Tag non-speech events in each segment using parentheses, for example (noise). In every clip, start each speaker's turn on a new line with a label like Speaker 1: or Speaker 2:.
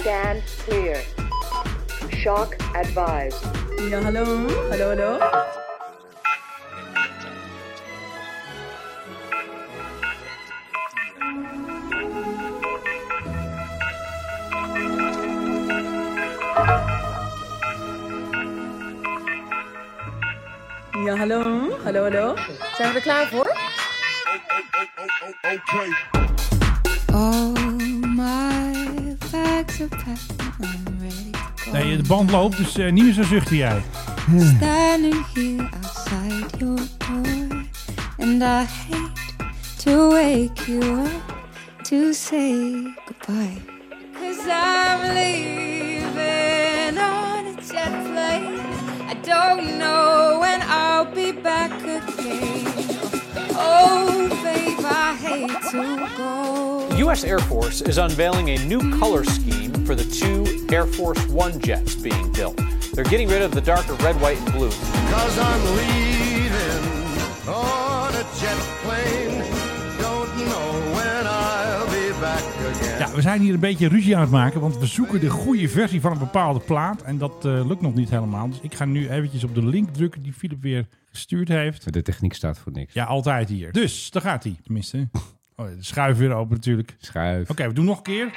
Speaker 1: Stand clear. Shock advised.
Speaker 2: Ja, hallo. Hallo, hallo. Ja, hallo. Hallo, hallo. Zijn we er klaar voor?
Speaker 3: Okay.
Speaker 4: All my bags are packed. I'm ready to go.
Speaker 5: Nee, de band loopt, dus eh, niet meer zo zuchten jij.
Speaker 4: Standing here outside your door, and I hate to wake you up to say goodbye. Cause I'm leaving on a jet plane. I don't know when I'll be back again. Oh, babe, I hate to go.
Speaker 6: U.S. Air Force is unveiling a new color scheme for the two Air Force One jets being built. They're getting rid of the darker red, white, and blue.
Speaker 7: Cause I'm leaving on a jet plane. Don't know when I'll be back again.
Speaker 5: Ja, we zijn hier een beetje ruzie aan het maken, want we zoeken de goede versie van een bepaalde plaat. En dat eh, lukt nog niet helemaal. Dus ik ga nu eventjes op de link drukken die Philip weer gestuurd heeft.
Speaker 8: De techniek staat voor niks.
Speaker 5: Ja, altijd hier. Dus, daar gaat hij. Tenminste. (laughs) Oh, de schuif weer open natuurlijk. Oké,
Speaker 8: Schuif.
Speaker 5: we doen nog een keer.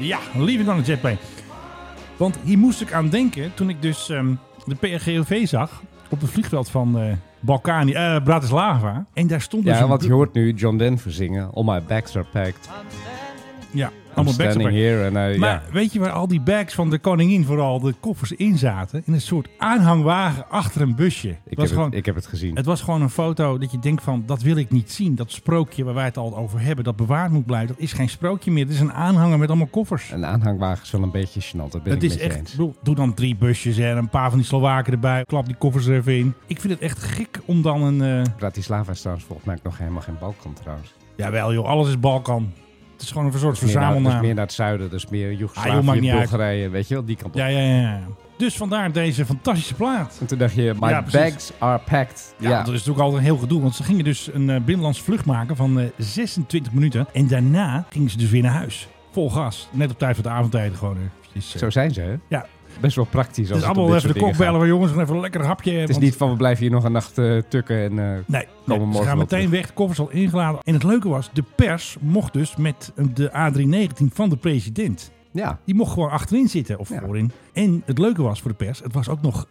Speaker 5: Ja, liever dan een jetplane. Want hier moest ik aan denken toen ik dus ehm, de PRGOV zag op het vliegveld van eh Balkani, eh, Bratislava. En daar stond dus
Speaker 8: Ja,
Speaker 5: een-
Speaker 8: want je hoort nu John Denver zingen. All my bags are packed.
Speaker 5: ja,
Speaker 8: I'm
Speaker 5: allemaal bags
Speaker 8: standing here. En, eh,
Speaker 5: Maar
Speaker 8: ja.
Speaker 5: weet je waar al die bags van de koningin vooral, de koffers in zaten? In een soort aanhangwagen achter een busje.
Speaker 8: ik,
Speaker 5: was
Speaker 8: heb
Speaker 5: gewoon,
Speaker 8: het, ik heb het gezien.
Speaker 5: Het was gewoon een foto dat je denkt van, dat wil ik niet zien. Dat sprookje waar wij het al over hebben, dat bewaard moet blijven. Dat is geen sprookje meer. Het is een aanhanger met allemaal koffers.
Speaker 8: Een aanhangwagen is wel een beetje gênant. Dat ben
Speaker 5: Het
Speaker 8: ik
Speaker 5: is
Speaker 8: met je
Speaker 5: echt, ik
Speaker 8: eens.
Speaker 5: bedoel, doe dan drie busjes en een paar van die Slowaken erbij. Klap die koffers er even in. Ik vind het echt gek om dan een... eh,
Speaker 8: Bratislava is trouwens volgens mij ook nog helemaal geen Balkan trouwens.
Speaker 5: jawel joh, alles is Balkan. Het is gewoon een soort
Speaker 8: Meer naar, dat is
Speaker 5: verzamelnaam.
Speaker 8: meer naar het zuiden. Dat is meer
Speaker 5: Ah, joh, maakt
Speaker 8: Joegoslavië,
Speaker 5: niet uit.
Speaker 8: Bulgarije. Weet je wel, die kant op.
Speaker 5: Ja, ja, ja, ja. Dus vandaar deze fantastische plaat.
Speaker 8: En toen dacht je, my
Speaker 5: Ja, precies.
Speaker 8: bags are packed.
Speaker 5: Ja,
Speaker 8: Ja,
Speaker 5: want er is natuurlijk altijd een heel gedoe. Want ze gingen dus een eh, binnenlandse vlucht maken van eh, 26 minuten. En daarna gingen ze dus weer naar huis. Vol gas. Net op tijd van de avondtijden gewoon. eh. Dus, eh,
Speaker 8: zo zijn ze. hè?
Speaker 5: Ja.
Speaker 8: Best wel praktisch.
Speaker 5: dus
Speaker 8: als het om
Speaker 5: allemaal
Speaker 8: dit
Speaker 5: even de
Speaker 8: soort
Speaker 5: kok
Speaker 8: dingen
Speaker 5: bellen
Speaker 8: gaat.
Speaker 5: van jongens, even een lekker hapje.
Speaker 8: Het is
Speaker 5: want-
Speaker 8: niet van, we blijven hier nog een nacht eh, tukken en... eh,
Speaker 5: Nee, nee,
Speaker 8: morgen
Speaker 5: ze gaan
Speaker 8: wel
Speaker 5: meteen weg. De koffers al ingeladen. En het leuke was, de pers mocht dus met de A319 van de president.
Speaker 8: ja,
Speaker 5: Die mocht gewoon achterin zitten of
Speaker 8: Ja.
Speaker 5: voorin. En het leuke was voor de pers, het was ook nog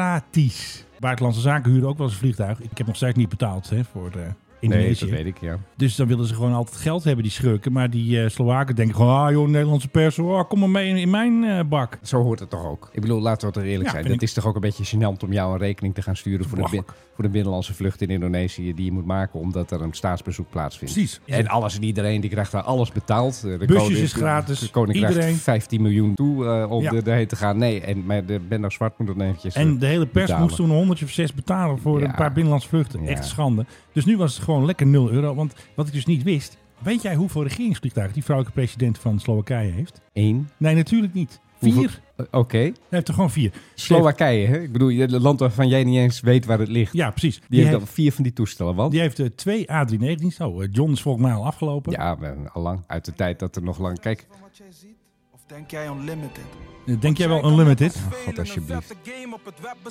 Speaker 5: gratis. Buitenlandse zaken huurden ook wel eens een vliegtuig. Ik heb nog steeds niet betaald hè, voor de
Speaker 8: nee,
Speaker 5: Indonesië.
Speaker 8: dat weet ik, ja.
Speaker 5: Dus dan willen ze gewoon altijd geld hebben, die schurken. Maar die eh, Slowaken denken gewoon, ah joh, Nederlandse pers, oh, kom maar mee in, in mijn eh, bak.
Speaker 8: Zo hoort het toch ook? Ik bedoel, laten we toch eerlijk
Speaker 5: Ja,
Speaker 8: zijn.
Speaker 5: vind
Speaker 8: Dat is toch ook een beetje gênant om jou een rekening te gaan sturen voor de, bin- voor de binnenlandse vlucht in Indonesië die je moet maken omdat er een staatsbezoek plaatsvindt.
Speaker 5: Precies.
Speaker 8: En alles en iedereen die krijgt daar alles betaald. Eh, De
Speaker 5: Busjes
Speaker 8: koning-
Speaker 5: is gratis.
Speaker 8: De koning
Speaker 5: Iedereen.
Speaker 8: krijgt 15 miljoen toe eh, om
Speaker 5: Ja.
Speaker 8: er erheen te gaan. Nee, en maar de Bender Zwart moet dan eventjes. eh,
Speaker 5: En de hele pers
Speaker 8: betalen.
Speaker 5: moest toen een honderdje of zes betalen voor
Speaker 8: Ja.
Speaker 5: een paar binnenlandse vluchten.
Speaker 8: Ja.
Speaker 5: Echt schande. Dus nu was het gewoon lekker 0 euro. Want wat ik dus niet wist, weet jij hoeveel regeringsvliegtuigen die vrouwelijke president van Slowakije heeft?
Speaker 8: één.
Speaker 5: Nee, natuurlijk niet. Vier.
Speaker 8: Hoeveel? Eh, Oké.
Speaker 5: Hij heeft er gewoon vier.
Speaker 8: Slowakije, hè? Ik bedoel, het land waarvan jij niet eens weet waar het ligt.
Speaker 5: Ja, precies. Die,
Speaker 8: Die heeft
Speaker 5: heeft,
Speaker 8: dan vier van die toestellen. Want
Speaker 5: die heeft eh, twee A319's. Oh, eh, John is volgens mij al afgelopen.
Speaker 8: ja, we- al lang. Uit de tijd dat er nog lang. Kijk,
Speaker 9: wat jij ziet? Of denk jij unlimited?
Speaker 5: Eh, Denk jij wel Unlimited?
Speaker 8: Oh, God, alsjeblieft.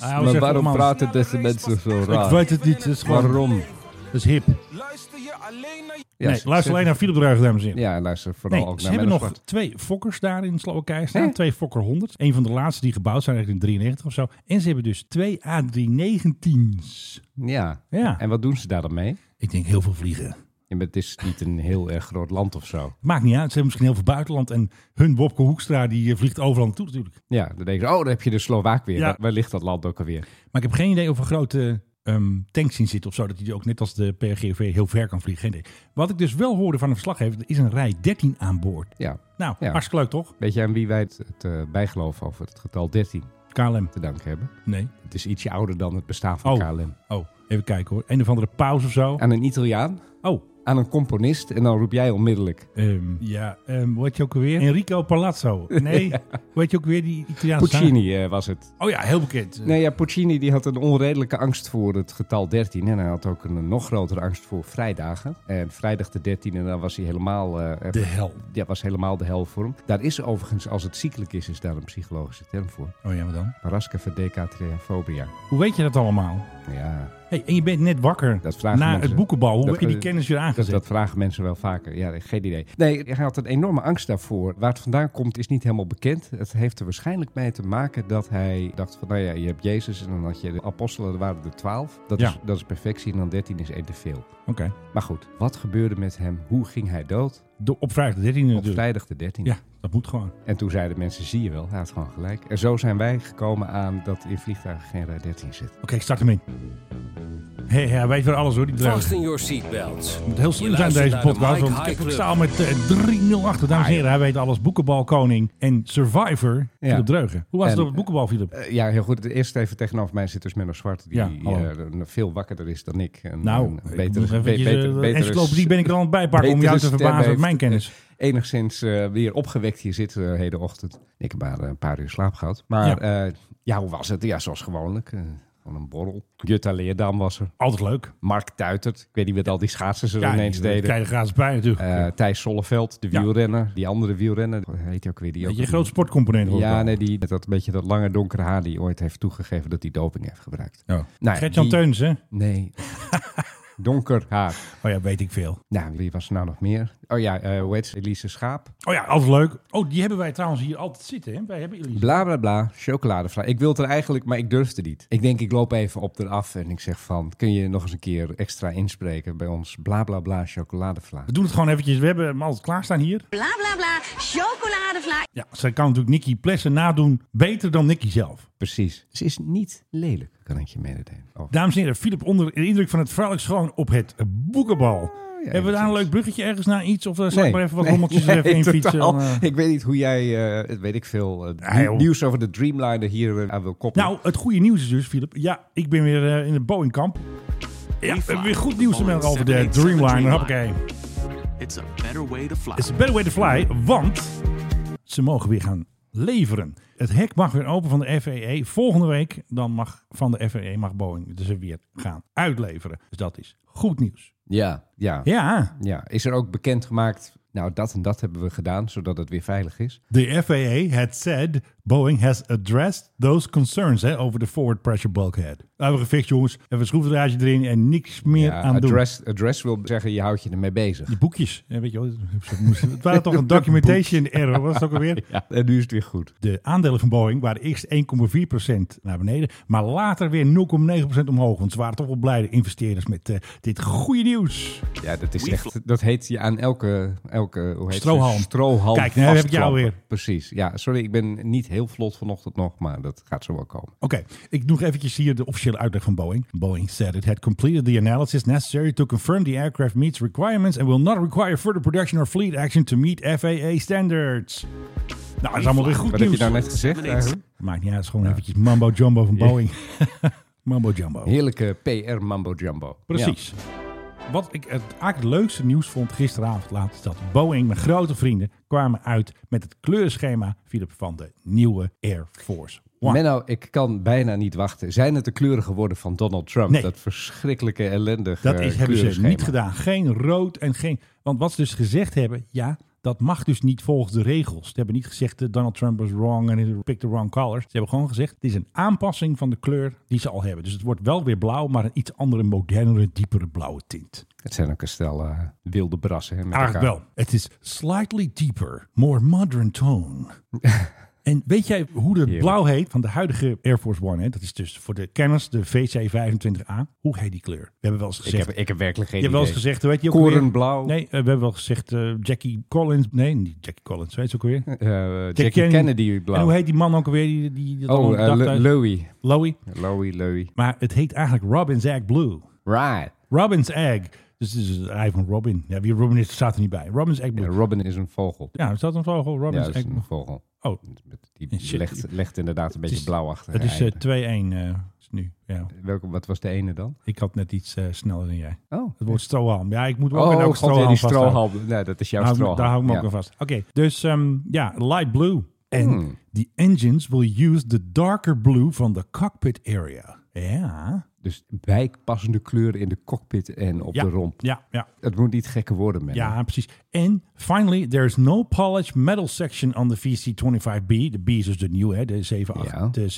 Speaker 5: Ah,
Speaker 8: Maar
Speaker 5: zeg,
Speaker 8: waarom
Speaker 5: man.
Speaker 8: praten deze mensen zo raar?
Speaker 5: Ik weet het niet. Het is gewoon...
Speaker 8: Waarom?
Speaker 5: Dat is hip.
Speaker 9: Luister je alleen naar
Speaker 8: Ja,
Speaker 5: nee,
Speaker 8: ze-
Speaker 5: luister
Speaker 8: ze-
Speaker 5: alleen naar Philip Druijgen, dames en heren.
Speaker 8: Ja, luister vooral
Speaker 5: Nee,
Speaker 8: ook
Speaker 5: ze
Speaker 8: naar
Speaker 5: hebben
Speaker 8: Menno
Speaker 5: nog
Speaker 8: Zwart.
Speaker 5: twee Fokkers daar in Slowakije staan.
Speaker 8: Hè?
Speaker 5: Twee Fokker 100. Een van de laatste die gebouwd zijn, eigenlijk in 93 of zo. En ze hebben dus twee A319's.
Speaker 8: Ja.
Speaker 5: Ja.
Speaker 8: En wat doen ze daar dan mee?
Speaker 5: Ik denk heel veel vliegen.
Speaker 8: Ja, maar het is niet een heel erg groot land of zo.
Speaker 5: Maakt niet uit. Ze hebben misschien heel veel buitenland. En hun Bobke Hoekstra, die eh, vliegt overal naartoe natuurlijk.
Speaker 8: Ja, dan denk je, oh, dan heb je de Slovaak weer.
Speaker 5: Ja.
Speaker 8: Waar, waar ligt dat land ook alweer?
Speaker 5: Maar ik heb geen idee of er grote ehm, tanks in zitten of zo. Dat hij ook net als de PRGV heel ver kan vliegen. Geen idee. Wat ik dus wel hoorde van een verslaggever, er is een rij 13 aan boord.
Speaker 8: Ja.
Speaker 5: Nou,
Speaker 8: Ja.
Speaker 5: hartstikke leuk toch?
Speaker 8: Weet je aan wie wij het, het eh, bijgeloof over het getal 13
Speaker 5: KLM.
Speaker 8: te danken hebben?
Speaker 5: Nee.
Speaker 8: Het is ietsje ouder dan het bestaan van
Speaker 5: Oh.
Speaker 8: KLM.
Speaker 5: Oh, even kijken hoor. Een of andere pauze of zo.
Speaker 8: Aan een Italiaan
Speaker 5: Oh,
Speaker 8: aan een componist en dan roep jij onmiddellijk.
Speaker 5: Ehm, ja, ehm hoe heet je ook alweer? Enrico Palazzo. (laughs) Nee, hoe heet je ook weer die Italiaanse
Speaker 8: Puccini eh, was het.
Speaker 5: zanger? Oh ja, heel bekend.
Speaker 8: Nee, ja, Puccini die had een onredelijke angst voor het getal 13. En hij had ook een nog grotere angst voor vrijdagen. En vrijdag de 13e, dan was hij helemaal, eh, eh,
Speaker 5: De hel.
Speaker 8: ja, was helemaal de hel voor hem. Daar is overigens, als het ziekelijk is, is daar een psychologische term voor.
Speaker 5: Oh ja, maar dan?
Speaker 8: Parasca verdecatriafobia.
Speaker 5: Hoe weet je dat allemaal?
Speaker 8: Ja,
Speaker 5: Hey, en je bent net wakker
Speaker 8: Dat vragen
Speaker 5: na
Speaker 8: mensen.
Speaker 5: het boekenbal. Hoe
Speaker 8: Dat-
Speaker 5: heb je die kennis weer
Speaker 8: dat,
Speaker 5: aangezet?
Speaker 8: dat vragen mensen wel vaker. Ja, geen idee. Nee, hij had een enorme angst daarvoor. Waar het vandaan komt is niet helemaal bekend. Het heeft er waarschijnlijk mee te maken dat hij dacht van... nou ja, je hebt Jezus en dan had je de apostelen, er waren er twaalf. Dat,
Speaker 5: Ja.
Speaker 8: is, dat is perfectie en dan dertien is één te veel.
Speaker 5: Oké.
Speaker 8: Maar goed, wat gebeurde met hem? Hoe ging hij dood?
Speaker 5: De- Op vrijdag de 13e
Speaker 8: Op
Speaker 5: dus.
Speaker 8: vrijdag de dertiende.
Speaker 5: Ja, dat moet gewoon.
Speaker 8: En toen zeiden mensen, zie je wel, hij had gewoon gelijk. En zo zijn wij gekomen aan dat in vliegtuigen geen rij 13 zit.
Speaker 5: Oké, ik start hem in. Hé, hij weet weer alles hoor, die druif.
Speaker 3: Fasten your seatbelts.
Speaker 5: Het moet heel slim zijn deze podcast, want ik heb het staal met eh, 3-0 achter. Dames en heren, hij weet alles. Boekenbalkoning en survivor
Speaker 8: Ja.
Speaker 5: Philip Dreugen. Hoe was het
Speaker 8: En,
Speaker 5: op het boekenbal, Philip?
Speaker 8: Eh, ja, heel goed. Eerst even tegenover mij zit dus Menno Zwart, die
Speaker 5: Ja,
Speaker 8: eh,
Speaker 5: hallo.
Speaker 8: een- veel wakkerder is dan ik. En,
Speaker 5: nou,
Speaker 8: en
Speaker 5: ik moet nog
Speaker 8: be-
Speaker 5: eventjes, eh, de
Speaker 8: betere-
Speaker 5: encyclopedie ben ik er al aan het bijpakken om jou te
Speaker 8: betere stem
Speaker 5: verbazen met
Speaker 8: heeft.
Speaker 5: mijn kennis.
Speaker 8: (laughs) enigszins eh, weer opgewekt hier zitten eh, heden ochtend. Ik heb maar eh, een paar uur slaap gehad. Maar ja, ja hoe was het? Ja, zoals gewoonlijk. eh, Gewoon een borrel. Jutta Leerdam was er.
Speaker 5: Altijd leuk.
Speaker 8: Mark Tuitert. Ik weet niet wat al die schaatsers er ineens
Speaker 5: die-
Speaker 8: deden.
Speaker 5: krijg je er gratis bij natuurlijk.
Speaker 8: Eh, Thijs Solleveld, de
Speaker 5: Ja.
Speaker 8: wielrenner. Die andere wielrenner. Hoe Heet hij ook weer? Die ook
Speaker 5: Beetje een groot sportcomponent. hoor ik
Speaker 8: Ja,
Speaker 5: wel.
Speaker 8: nee, die, met dat beetje dat lange donkere haar die ooit heeft toegegeven dat hij doping heeft gebruikt.
Speaker 5: Oh.
Speaker 8: Nou,
Speaker 5: Gert-Jan
Speaker 8: die-
Speaker 5: Teuns, hè?
Speaker 8: Nee. (laughs) Donker haar.
Speaker 5: Oh ja, weet ik veel.
Speaker 8: Nou, wie was er nou nog meer? Oh ja, eh hoe heet ze? Elise Schaap.
Speaker 5: Oh ja, altijd leuk. Oh, die hebben wij trouwens hier altijd zitten, hè? Wij hebben jullie...
Speaker 8: Bla bla bla, chocoladevraag. Ik wil het er eigenlijk, maar ik durfde niet. Ik denk, ik loop even op eraf en ik zeg van, kun je nog eens een keer extra inspreken bij ons? Bla bla bla, chocoladevla.
Speaker 5: We doen het gewoon eventjes. We hebben hem altijd klaarstaan hier.
Speaker 10: Bla bla bla, chocoladevla.
Speaker 5: Ja, zij kan natuurlijk Nicky Plessen nadoen beter dan Nicky zelf.
Speaker 8: Precies. Ze is niet lelijk, kan ik je mededelen. Oh,
Speaker 5: Dames en heren, Philip onder de indruk van het vrouwelijk schoon op het boekenbal.
Speaker 8: Oh
Speaker 5: hebben we daar een
Speaker 8: enigszins.
Speaker 5: leuk bruggetje ergens naar iets? Of eh, zal ik maar even wat
Speaker 8: (laughs) nee,
Speaker 5: rommeltjes er even
Speaker 8: nee,
Speaker 5: in fietsen?
Speaker 8: totaal.
Speaker 5: Dan, eh.
Speaker 8: Ik weet niet hoe jij, eh, het weet ik veel, eh,
Speaker 5: Ah, joh.
Speaker 8: nieuws over de Dreamliner hier eh, aan wil koppelen.
Speaker 5: Nou, het goede nieuws is dus, Philip. Ja, ik ben weer eh, in het Boeing-kamp. Ja, we hebben weer goed nieuws te melden over de Dreamliner. Hoppakee.
Speaker 3: It's a better way to fly.
Speaker 5: It's a better way to fly, want ze mogen weer gaan leveren. Het hek mag weer open van de FAA. Volgende week dan mag van de FAA mag Boeing ze weer gaan uitleveren. Dus dat is goed nieuws.
Speaker 8: ja, ja, ja.
Speaker 5: Ja,
Speaker 8: Is er ook bekendgemaakt, nou dat en dat hebben we gedaan, zodat het weer veilig is.
Speaker 5: de FAA had said Boeing has addressed those concerns hè, over de forward pressure bulkhead. Dat hebben we gefixt jongens. Even een schroefdraadje erin en niks meer
Speaker 8: Ja,
Speaker 5: aan doen.
Speaker 8: address, address wil zeggen, je houdt je ermee bezig.
Speaker 5: Die boekjes, hè, weet je wel. Het waren toch een documentation error, was het ook
Speaker 8: (laughs)
Speaker 5: alweer?
Speaker 8: Ja, en nu is het weer goed.
Speaker 5: De aandelen van Boeing waren eerst 1,4% naar beneden, maar later weer 0,9% omhoog. Want ze waren toch wel blij, de investeerders, met eh, dit goede nieuws.
Speaker 8: Ja, dat is echt. Dat heet je aan elke. elke hoe heet ze?
Speaker 5: Strohalm.
Speaker 8: Strohalm.
Speaker 5: Kijk, nou heb ik jou
Speaker 8: vastklampen.
Speaker 5: weer.
Speaker 8: Precies. Ja, sorry, ik ben niet heel vlot vanochtend nog, maar dat gaat zo wel komen.
Speaker 5: Oké, ik doe nog eventjes hier de officiële uitleg van Boeing. Boeing said it had completed the analysis necessary to confirm the aircraft meets requirements and will not require further production or fleet action to meet FAA standards. Nou, dat is allemaal weer goed
Speaker 8: Wat heb je
Speaker 5: nieuws.
Speaker 8: nou net gezegd? eigenlijk?
Speaker 5: Maakt niet uit, het is gewoon eventjes mambo jumbo van Boeing. (laughs) mambo jumbo.
Speaker 8: Heerlijke PR Mambo Jumbo.
Speaker 5: Precies. Wat ik het, eigenlijk het leukste nieuws vond gisteravond laat is dat Boeing, mijn grote vrienden, kwamen uit met het kleurenschema Philip, van de nieuwe Air Force
Speaker 8: Ja.
Speaker 5: One.
Speaker 8: Menno, ik kan bijna niet wachten. Zijn het de kleuren geworden van Donald Trump?
Speaker 5: Nee.
Speaker 8: Dat verschrikkelijke, ellendige
Speaker 5: dat is, hebben ze
Speaker 8: kleurenschema.
Speaker 5: niet gedaan. Geen rood en geen... Want wat ze dus gezegd hebben, ja, dat mag dus niet volgens de regels. Ze hebben niet gezegd eh, Donald Trump was wrong en he picked the wrong colors. Ze hebben gewoon gezegd, het is een aanpassing van de kleur die ze al hebben. Dus het wordt wel weer blauw, maar een iets andere, modernere, diepere blauwe tint.
Speaker 8: Het zijn ook een stel eh, wilde brassen. Hè, met
Speaker 5: Eigenlijk
Speaker 8: elkaar.
Speaker 5: wel. Het is slightly deeper, more modern
Speaker 8: (laughs)
Speaker 5: tone. en weet jij hoe de blauw heet van de huidige Air Force One? Hè? Dat is dus voor de kenners de VC25A. Hoe heet die kleur? We hebben wel eens
Speaker 8: Ik
Speaker 5: gezegd...
Speaker 8: heb, ik heb werkelijk geen
Speaker 5: je hebt wel
Speaker 8: idee.
Speaker 5: eens gezegd, weet je ook alweer-
Speaker 8: Korenblauw.
Speaker 5: Nee, eh, we hebben wel gezegd eh, Jackie Collins. Nee, niet Jackie Collins. Weet je ook alweer?
Speaker 8: Eh, Jackie Kennedy blauw.
Speaker 5: En hoe heet die man ook alweer? Die, die, die dat
Speaker 8: oh,
Speaker 5: allemaal
Speaker 8: eh,
Speaker 5: bedacht
Speaker 8: Lo-
Speaker 5: heeft?
Speaker 8: Louis.
Speaker 5: Lowie.
Speaker 8: Louis, Louis.
Speaker 5: Maar het heet eigenlijk Robin's Egg Blue.
Speaker 8: Right.
Speaker 5: Robin's Egg. Dus dit is het ei van Robin. Ja, wie Robin is, staat er niet bij. Robin's Egg
Speaker 8: Ja,
Speaker 5: Blue.
Speaker 8: Robin is een vogel.
Speaker 5: Ja, is dat een vogel?
Speaker 8: Ja,
Speaker 5: Robin's
Speaker 8: dat is
Speaker 5: Egg Blue.
Speaker 8: een vogel.
Speaker 5: Oh,
Speaker 8: Die
Speaker 5: Shit.
Speaker 8: legt, legt inderdaad een beetje
Speaker 5: is-
Speaker 8: blauw achter.
Speaker 5: het
Speaker 8: haar
Speaker 5: is eh,
Speaker 8: eieren.
Speaker 5: 2-1. eh, nu. Ja.
Speaker 8: Welke, wat was de ene dan?
Speaker 5: Ik had net iets eh, sneller dan jij.
Speaker 8: Oh.
Speaker 5: Het woord strohalm. Ja, ik moet wel ook een
Speaker 8: god, ja,
Speaker 5: strohalm
Speaker 8: die
Speaker 5: vasthouden.
Speaker 8: strohalm. Nee, dat is jouw
Speaker 5: Daar hou ik me-
Speaker 8: strohalm.
Speaker 5: Daar hou ik me
Speaker 8: Ja.
Speaker 5: ook aan vast. Oké, dus ehm, ja, light blue. En
Speaker 8: Hmm.
Speaker 5: the engines will use the darker blue van the cockpit area. Ja.
Speaker 8: Dus bijpassende kleuren in de cockpit en op
Speaker 5: Ja.
Speaker 8: de romp.
Speaker 5: Ja, ja,
Speaker 8: Het moet niet gekke worden, man.
Speaker 5: ja, precies. En finally, there's no polished metal section on the VC25B. De B is dus de nieuwe, hè, de, 78,
Speaker 8: Ja.
Speaker 5: de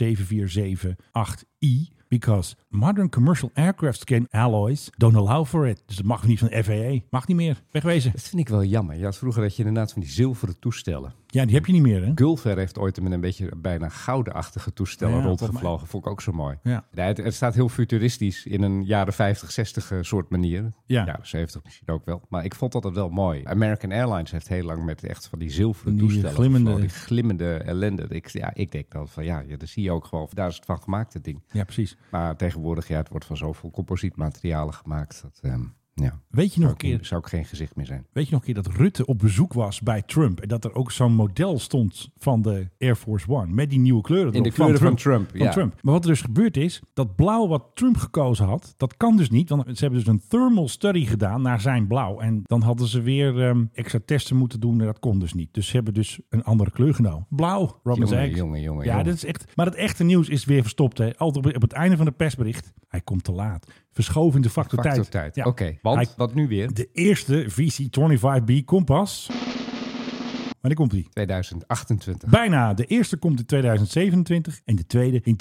Speaker 5: 7478i. Because modern commercial aircraft scan alloys don't allow for it. Dus dat mag niet van de FAA. Mag niet meer. Wegwezen.
Speaker 8: Dat vind ik wel jammer. Je had vroeger dat je inderdaad van die zilveren toestellen.
Speaker 5: Ja, die heb je niet meer, hè?
Speaker 8: Gulfair heeft ooit met een beetje bijna goudenachtige toestellen
Speaker 5: Ja, volgens
Speaker 8: rondgevlogen. Vond ik ook zo mooi.
Speaker 5: Ja.
Speaker 8: Nee, het, het staat heel futuristisch in een jaren 50, 60 eh, soort manier.
Speaker 5: Ja.
Speaker 8: 70 misschien ook wel. Maar ik vond dat wel mooi. American Airlines heeft heel lang met echt van die zilveren
Speaker 5: Die
Speaker 8: toestellen.
Speaker 5: glimmende-
Speaker 8: gevlogen, die glimmende ellende. Ik, ja, ik denk dan van ja, ja, dat zie je ook gewoon. Daar is het van gemaakt, het ding.
Speaker 5: Ja, precies.
Speaker 8: Maar tegenwoordig, ja, het wordt van zoveel composietmaterialen gemaakt. Dat, ehm, ja,
Speaker 5: Weet je nog een
Speaker 8: zou,
Speaker 5: keer
Speaker 8: ik, zou ik geen gezicht meer zijn.
Speaker 5: Weet je nog een keer dat Rutte op bezoek was bij Trump en dat er ook zo'n model stond van de Air Force One met die nieuwe kleuren
Speaker 8: de
Speaker 5: erop
Speaker 8: kleuren van Trump,
Speaker 5: van
Speaker 8: ja.
Speaker 5: Trump. Maar wat er dus gebeurd is, dat blauw wat Trump gekozen had, dat kan dus niet, want ze hebben dus een thermal study gedaan naar zijn blauw en dan hadden ze weer ehm, extra testen moeten doen en dat kon dus niet. Dus ze hebben dus een andere kleur genomen. Blauw, Robin
Speaker 8: Jongen,
Speaker 5: Zijks.
Speaker 8: jongen, jongen,
Speaker 5: Ja,
Speaker 8: jongen.
Speaker 5: dat is echt. Maar het echte nieuws is weer verstopt. Hè. Altijd op- op het einde van het persbericht. Hij komt te laat. Verschoven in de factor,
Speaker 8: Factor
Speaker 5: tijd.
Speaker 8: tijd.
Speaker 5: Ja.
Speaker 8: Oké, want
Speaker 5: Hij-
Speaker 8: wat nu weer?
Speaker 5: de eerste VC25B kompas. Wanneer komt die?
Speaker 8: 2028.
Speaker 5: Bijna. De eerste komt in 2027 en de tweede in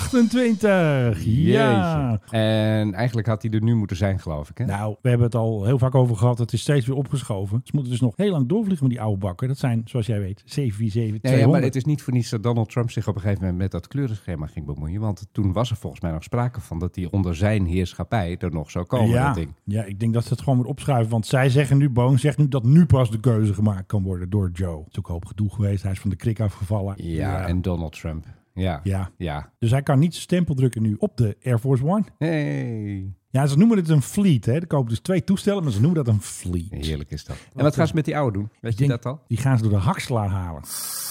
Speaker 5: 2028. Ja.
Speaker 8: Jeetje. En eigenlijk had hij er nu moeten zijn, geloof ik. Hè?
Speaker 5: Nou, we hebben het al heel vaak over gehad. Het is steeds weer opgeschoven. Ze moeten dus nog heel lang doorvliegen met die oude bakken. Dat zijn, zoals jij weet, 747
Speaker 8: Nee, ja, maar
Speaker 5: 200.
Speaker 8: het is niet voor niets dat Donald Trump zich op een gegeven moment met dat kleurenschema ging bemoeien. Want toen was er volgens mij nog sprake van dat die onder zijn heerschappij er nog zou komen.
Speaker 5: ja,
Speaker 8: Dat ding.
Speaker 5: ja, ik denk dat ze het gewoon weer opschuiven. Want zij zeggen nu, Boeing zegt nu dat nu pas de keuze gemaakt kan worden door Joe. Het is ook een hoop gedoe geweest. Hij is van de krik afgevallen.
Speaker 8: Ja, en Donald Trump. Ja.
Speaker 5: Ja.
Speaker 8: ja.
Speaker 5: Dus hij kan niet zijn stempel drukken nu op de Air Force One.
Speaker 8: Hey.
Speaker 5: Ja, ze noemen het een fleet. Hè. Er kopen dus twee toestellen, maar ze noemen dat een fleet.
Speaker 8: Heerlijk is dat. En wat gaan ze met die oude doen? Weet
Speaker 5: Ik
Speaker 8: je
Speaker 5: denk,
Speaker 8: dat al?
Speaker 5: Die gaan ze door de haksla halen.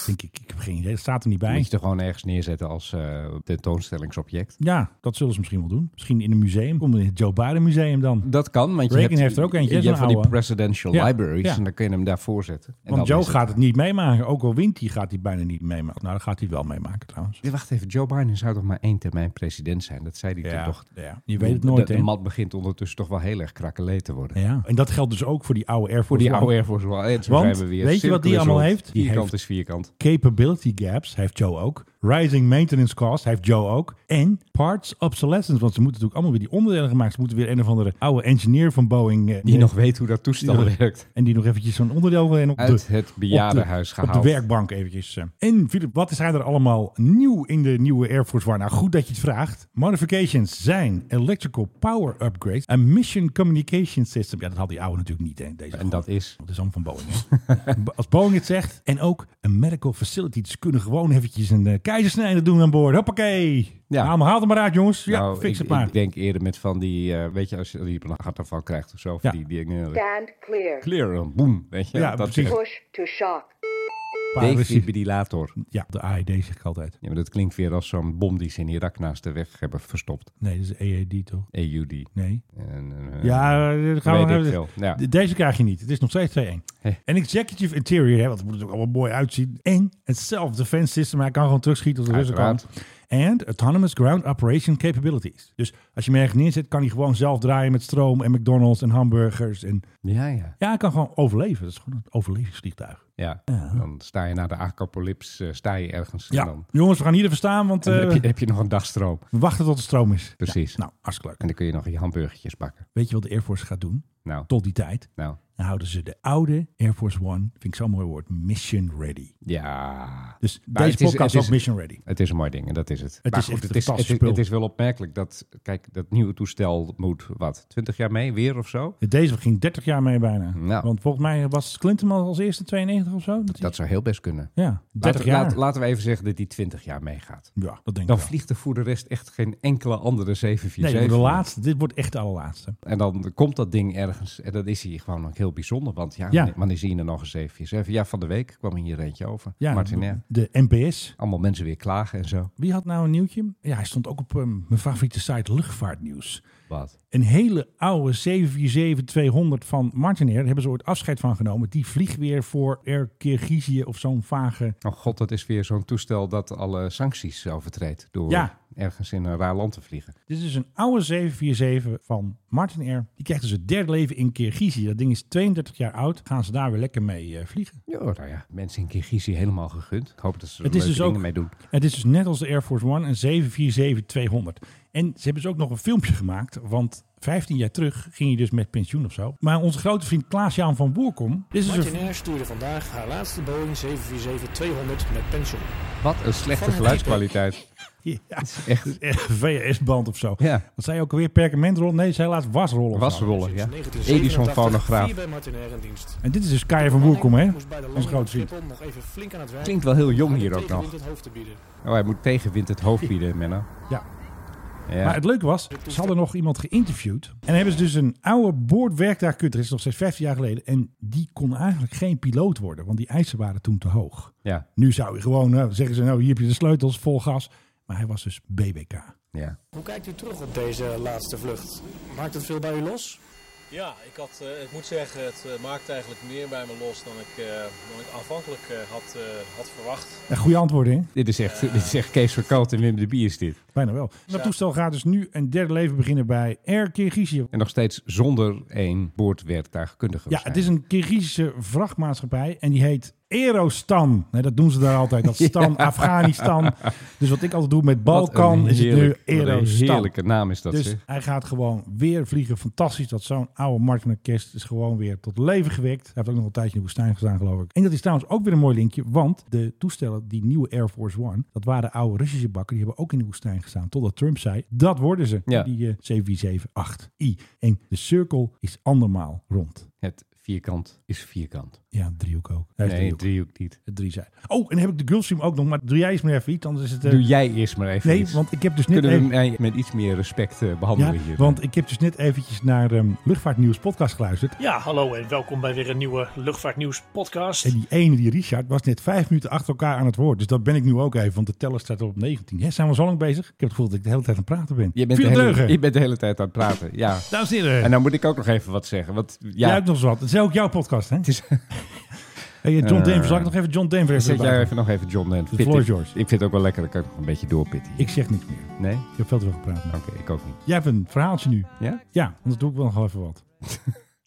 Speaker 5: Denk ik, ik heb geen idee. Dat staat er niet bij.
Speaker 8: Moet je er gewoon ergens neerzetten als eh tentoonstellingsobject.
Speaker 5: Ja, dat zullen ze misschien wel doen. Misschien in een museum. Komt in het Joe Biden Museum dan.
Speaker 8: Dat kan, want je
Speaker 5: Reagan
Speaker 8: hebt,
Speaker 5: heeft er ook eentje, hè,
Speaker 8: Je hebt
Speaker 5: zo'n
Speaker 8: van die
Speaker 5: oude.
Speaker 8: presidential
Speaker 5: Ja,
Speaker 8: libraries
Speaker 5: ja.
Speaker 8: en dan kun je hem daarvoor zetten. En dan
Speaker 5: Want Joe
Speaker 8: is
Speaker 5: gaat het niet meemaken. Ook al wint hij, gaat hij bijna niet meemaken. Nou, dat gaat hij wel meemaken trouwens.
Speaker 8: Ja, Wacht even, Joe Biden zou toch maar één termijn president zijn? Dat zei hij
Speaker 5: Ja,
Speaker 8: toen toch?
Speaker 5: ja. Je weet het nooit,
Speaker 8: De,
Speaker 5: hè?
Speaker 8: de mat begint ondertussen toch wel heel erg krakkelee te worden.
Speaker 5: Ja. En dat geldt dus ook voor die oude Air Force
Speaker 8: Voor die
Speaker 5: One.
Speaker 8: oude Air Force One. En zo
Speaker 5: Want,
Speaker 8: zijn we weer.
Speaker 5: weet je wat die
Speaker 8: Cirkel is
Speaker 5: allemaal
Speaker 8: rond.
Speaker 5: heeft? Die
Speaker 8: Vierkant
Speaker 5: heeft-
Speaker 8: is vierkant.
Speaker 5: Capability gaps heeft Joe ook. Rising maintenance costs heeft Joe ook. En parts obsolescence. Want ze moeten natuurlijk allemaal weer die onderdelen gemaakt. Ze moeten weer een of andere oude engineer van Boeing. eh,
Speaker 8: Die
Speaker 5: eh,
Speaker 8: nog weet hoe dat toestel
Speaker 5: die nog-
Speaker 8: werkt.
Speaker 5: En die nog eventjes zo'n onderdeel weer op
Speaker 8: Uit
Speaker 5: de,
Speaker 8: het bejaardenhuis
Speaker 5: op de, op de
Speaker 8: gehaald.
Speaker 5: werkbank eventjes. eh. En Philip, wat is hij er allemaal nieuw in de nieuwe Air Force One? Nou, goed dat je het vraagt. Modifications zijn electrical power upgrades. Een mission communication system. Ja, dat had die oude natuurlijk niet. Hè, deze
Speaker 8: En dat is...
Speaker 5: want Het is allemaal van Boeing. hè? (laughs) Bo- Als Boeing het zegt. En ook een medical facility. dus Ze kunnen gewoon eventjes een eh, keizersnijder doen aan boord. Hoppakee.
Speaker 8: Ja.
Speaker 5: Ja. Haal, hem- haal het maar uit, jongens. Ja,
Speaker 8: Nou,
Speaker 5: fix
Speaker 8: ik,
Speaker 5: het maar.
Speaker 8: Ik denk eerder met van die... eh, weet je, als je die op een hartaanval krijgt of zo.
Speaker 5: Ja.
Speaker 8: Ja. Die dingen...
Speaker 1: Stand clear.
Speaker 8: Clear, dan boem. Weet je?
Speaker 5: Ja,
Speaker 8: dat
Speaker 5: precies.
Speaker 8: is-
Speaker 1: Push to shock.
Speaker 5: Parasite-
Speaker 8: Defibrillator.
Speaker 5: Ja, de AED zeg ik altijd.
Speaker 8: Ja, maar dat klinkt weer als zo'n bom die ze in Irak naast de weg hebben verstopt.
Speaker 5: Nee, dat is EAD toch?
Speaker 8: EUD.
Speaker 5: Nee.
Speaker 8: En, eh,
Speaker 5: Ja, eh, dat gaan
Speaker 8: weet
Speaker 5: we
Speaker 8: ik veel. Ja.
Speaker 5: De- Deze krijg je niet. Het is nog steeds 2-1.
Speaker 8: Hey.
Speaker 5: En executive interior, hè, want het moet er ook allemaal mooi uitzien. En het self-defense system. Hij kan gewoon terugschieten als de Russen kan. En autonomous ground operation capabilities. Dus als je hem ergens neerzet, kan hij gewoon zelf draaien met stroom en McDonald's en hamburgers. En
Speaker 8: Ja, ja.
Speaker 5: ja, hij kan gewoon overleven. Dat is gewoon een overlevingsvliegtuig.
Speaker 8: ja. Dan sta je na de acapolyps, eh, sta je ergens.
Speaker 5: Ja,
Speaker 8: En dan,
Speaker 5: jongens, we gaan hier even staan, want
Speaker 8: en dan
Speaker 5: eh,
Speaker 8: heb, je, heb je nog een dagstroom.
Speaker 5: we wachten tot de stroom is.
Speaker 8: Precies.
Speaker 5: Ja, nou, hartstikke leuk.
Speaker 8: En dan kun je nog je hamburgertjes bakken.
Speaker 5: Weet je wat de Air Force gaat doen?
Speaker 8: Nou,
Speaker 5: Tot die tijd.
Speaker 8: nou.
Speaker 5: Dan houden ze de oude Air Force One, vind ik zo'n mooi woord, mission ready.
Speaker 8: Ja.
Speaker 5: Dus
Speaker 8: Maar
Speaker 5: deze
Speaker 8: het is-
Speaker 5: podcast
Speaker 8: het is-
Speaker 5: ook mission ready.
Speaker 8: Het is een mooi ding en dat is het.
Speaker 5: Het
Speaker 8: Maar
Speaker 5: is echt
Speaker 8: het
Speaker 5: een
Speaker 8: is, het,
Speaker 5: fantastisch
Speaker 8: is,
Speaker 5: spul.
Speaker 8: het is wel opmerkelijk dat, kijk, dat nieuwe toestel moet, wat, 20 jaar mee weer of zo?
Speaker 5: Deze ging 30 jaar mee bijna.
Speaker 8: Nou.
Speaker 5: Want volgens mij was Clinton al als eerste 92 of zo. Dat hij-
Speaker 8: Dat zou heel best kunnen.
Speaker 5: ja, 30
Speaker 8: Laten,
Speaker 5: jaar.
Speaker 8: laat- laten we even zeggen dat die 20 jaar meegaat.
Speaker 5: ja, dat denk
Speaker 8: Dan
Speaker 5: ik wel.
Speaker 8: vliegt er voor de rest echt geen enkele andere
Speaker 5: Nee,
Speaker 8: 747.
Speaker 5: dit wordt de laatste. Dit wordt echt de allerlaatste.
Speaker 8: En dan komt dat ding ergens en dan is hij gewoon nog heel bijzonder. Want ja,
Speaker 5: Ja.
Speaker 8: Wanneer, wanneer zie je er nog eens eventjes? Even, ja, van de week kwam hier eentje over.
Speaker 5: Ja,
Speaker 8: Martin, hè?
Speaker 5: de NPS.
Speaker 8: Allemaal mensen weer klagen en zo.
Speaker 5: Wie had nou een nieuwtje? Ja, hij stond ook op ehm, mijn favoriete site Luchtvaartnieuws.
Speaker 8: Wat?
Speaker 5: Een hele oude 747-200 van Martinair. Daar hebben ze ooit afscheid van genomen. Die vliegt weer voor Air Kirgizië of zo'n vage...
Speaker 8: Oh god, dat is weer zo'n toestel dat alle sancties overtreedt. Door
Speaker 5: Ja.
Speaker 8: ergens in een raar land te vliegen.
Speaker 5: Dit is dus een oude 747 van Martinair. Die krijgt dus het derde leven in Kirgizië. Dat ding is 32 jaar oud. Gaan ze daar weer lekker mee eh, vliegen.
Speaker 8: Ja, nou ja. Mensen in Kirgizië helemaal gegund. Ik hoop dat ze er
Speaker 5: Het is
Speaker 8: leuke
Speaker 5: dus
Speaker 8: dingen
Speaker 5: ook-
Speaker 8: mee doen.
Speaker 5: Het is dus net als de Air Force One een 747-200. En ze hebben dus ook nog een filmpje gemaakt, want 15 jaar terug ging je dus met pensioen of zo. Maar onze grote vriend Klaas-Jan van Boerkom, dit is dus een,
Speaker 11: Martinair stuurde vandaag haar laatste Boeing 747-200 met pensioen.
Speaker 8: Wat een slechte geluidskwaliteit.
Speaker 5: (laughs) ja, het
Speaker 8: Echt.
Speaker 5: is echt een VS-band of zo.
Speaker 8: Ja.
Speaker 5: Wat zei je ook alweer, perkamentrol? Nee, ze zei laatst wasrol of zo.
Speaker 8: Wasrollen, ja. Edison
Speaker 11: 1987
Speaker 8: fonograaf.
Speaker 11: vier bij Martinair in dienst.
Speaker 5: En dit is dus Kaya van Boerkom, hè?
Speaker 11: Moest bij de
Speaker 5: Onze
Speaker 11: landing op
Speaker 5: grote vriend.
Speaker 11: Schiphol nog even flink aan het werk.
Speaker 8: Klinkt wel heel jong
Speaker 11: om de
Speaker 8: hier ook
Speaker 11: tegenwind
Speaker 8: nog.
Speaker 11: het hoofd te bieden.
Speaker 8: Oh, hij moet tegenwind het hoofd bieden, Menno.
Speaker 5: Ja.
Speaker 8: Ja.
Speaker 5: Maar het leuke was, ze hadden nog iemand geïnterviewd. En dan hebben ze dus een oude boordwerktuigkutter. Dat is nog steeds 15 jaar geleden. En die kon eigenlijk geen piloot worden, want die eisen waren toen te hoog.
Speaker 8: ja.
Speaker 5: Nu zou je gewoon nou, zeggen ze, nou hier heb je de sleutels, vol gas. Maar hij was dus BBK.
Speaker 8: ja.
Speaker 11: Hoe kijkt u terug op deze laatste vlucht? Maakt het veel bij u los?
Speaker 12: Ja, ik, had, eh, ik moet zeggen, het eh, maakt eigenlijk meer bij me los dan ik, eh, dan ik aanvankelijk eh, had, eh, had verwacht.
Speaker 5: Ja, goede antwoorden, hè?
Speaker 8: Dit is echt, dit is echt Kees Verkoot en Wim de Bier is dit.
Speaker 5: Bijna wel. Dat toestel gaat dus nu een derde leven beginnen bij Air Kirgizië.
Speaker 8: En nog steeds zonder één boordwerktuigkundige.
Speaker 5: Ja, het is een Kirgizische vrachtmaatschappij en die heet Aerostan. Nee, dat doen ze daar altijd. Dat Stan, Afghanistan. Dus wat ik altijd doe met Balkan is het nu
Speaker 8: Een
Speaker 5: Aerostan.
Speaker 8: heerlijke naam is dat.
Speaker 5: Dus
Speaker 8: zeg.
Speaker 5: hij gaat gewoon weer vliegen. Fantastisch dat zo'n oude Martin Kerst is gewoon weer tot leven gewekt. Hij heeft ook nog een tijdje in de woestijn gestaan, geloof ik. En dat is trouwens ook weer een mooi linkje. Want de toestellen, die nieuwe Air Force One, dat waren oude Russische bakken. Die hebben ook in de woestijn gestaan. Totdat Trump zei, dat worden ze.
Speaker 8: Ja.
Speaker 5: Die eh, 7478i. En de cirkel is andermaal rond.
Speaker 8: Het vierkant is vierkant.
Speaker 5: Ja, een driehoek ook. Hij is
Speaker 8: Nee,
Speaker 5: driehoek.
Speaker 8: driehoek niet.
Speaker 5: Het drie zijn. Oh, en dan heb ik de Gulfstream ook nog. Maar doe jij eens maar even iets, anders is het... eh,
Speaker 8: Doe jij eerst maar even
Speaker 5: nee,
Speaker 8: iets.
Speaker 5: want ik heb dus net...
Speaker 8: Kunnen we
Speaker 5: even-
Speaker 8: hem eh, met iets meer respect eh,
Speaker 5: Ja,
Speaker 8: behandelen hier?
Speaker 5: want ik heb dus net eventjes naar ehm Luchtvaartnieuws podcast geluisterd.
Speaker 11: Ja, hallo en welkom bij weer een nieuwe Luchtvaartnieuws podcast.
Speaker 5: En die ene, die Richard, was net vijf minuten achter elkaar aan het woord. Dus dat ben ik nu ook even, want de teller staat op 19. Hè, zijn we zo lang bezig? Ik heb het gevoel dat ik de hele tijd aan het praten ben.
Speaker 8: je, bent de
Speaker 5: Veel
Speaker 8: hele,
Speaker 5: deugen.
Speaker 8: je bent de hele tijd aan het praten. Ja.
Speaker 5: Dames en heren,
Speaker 8: En dan moet ik ook nog even wat zeggen. Want
Speaker 5: jij
Speaker 8: ja,
Speaker 5: hebt nog eens wat. Het is ook jouw podcast, hè?
Speaker 8: is-
Speaker 5: (laughs) Hey, John
Speaker 8: Eh,
Speaker 5: Denver, zal ik nog even John Denver even
Speaker 8: zet jij
Speaker 5: erbij?
Speaker 8: even nog even John en
Speaker 5: The floor is
Speaker 8: ik,
Speaker 5: yours.
Speaker 8: ik vind het ook wel lekker. Dan kan ik nog een beetje doorpitten. hier.
Speaker 5: Ik zeg niks meer.
Speaker 8: Nee?
Speaker 5: Ik heb veel te veel gepraat.
Speaker 8: Oké, ik ook niet.
Speaker 5: Jij hebt een verhaaltje nu.
Speaker 8: Ja?
Speaker 5: Ja, anders doe ik wel nog wel even wat.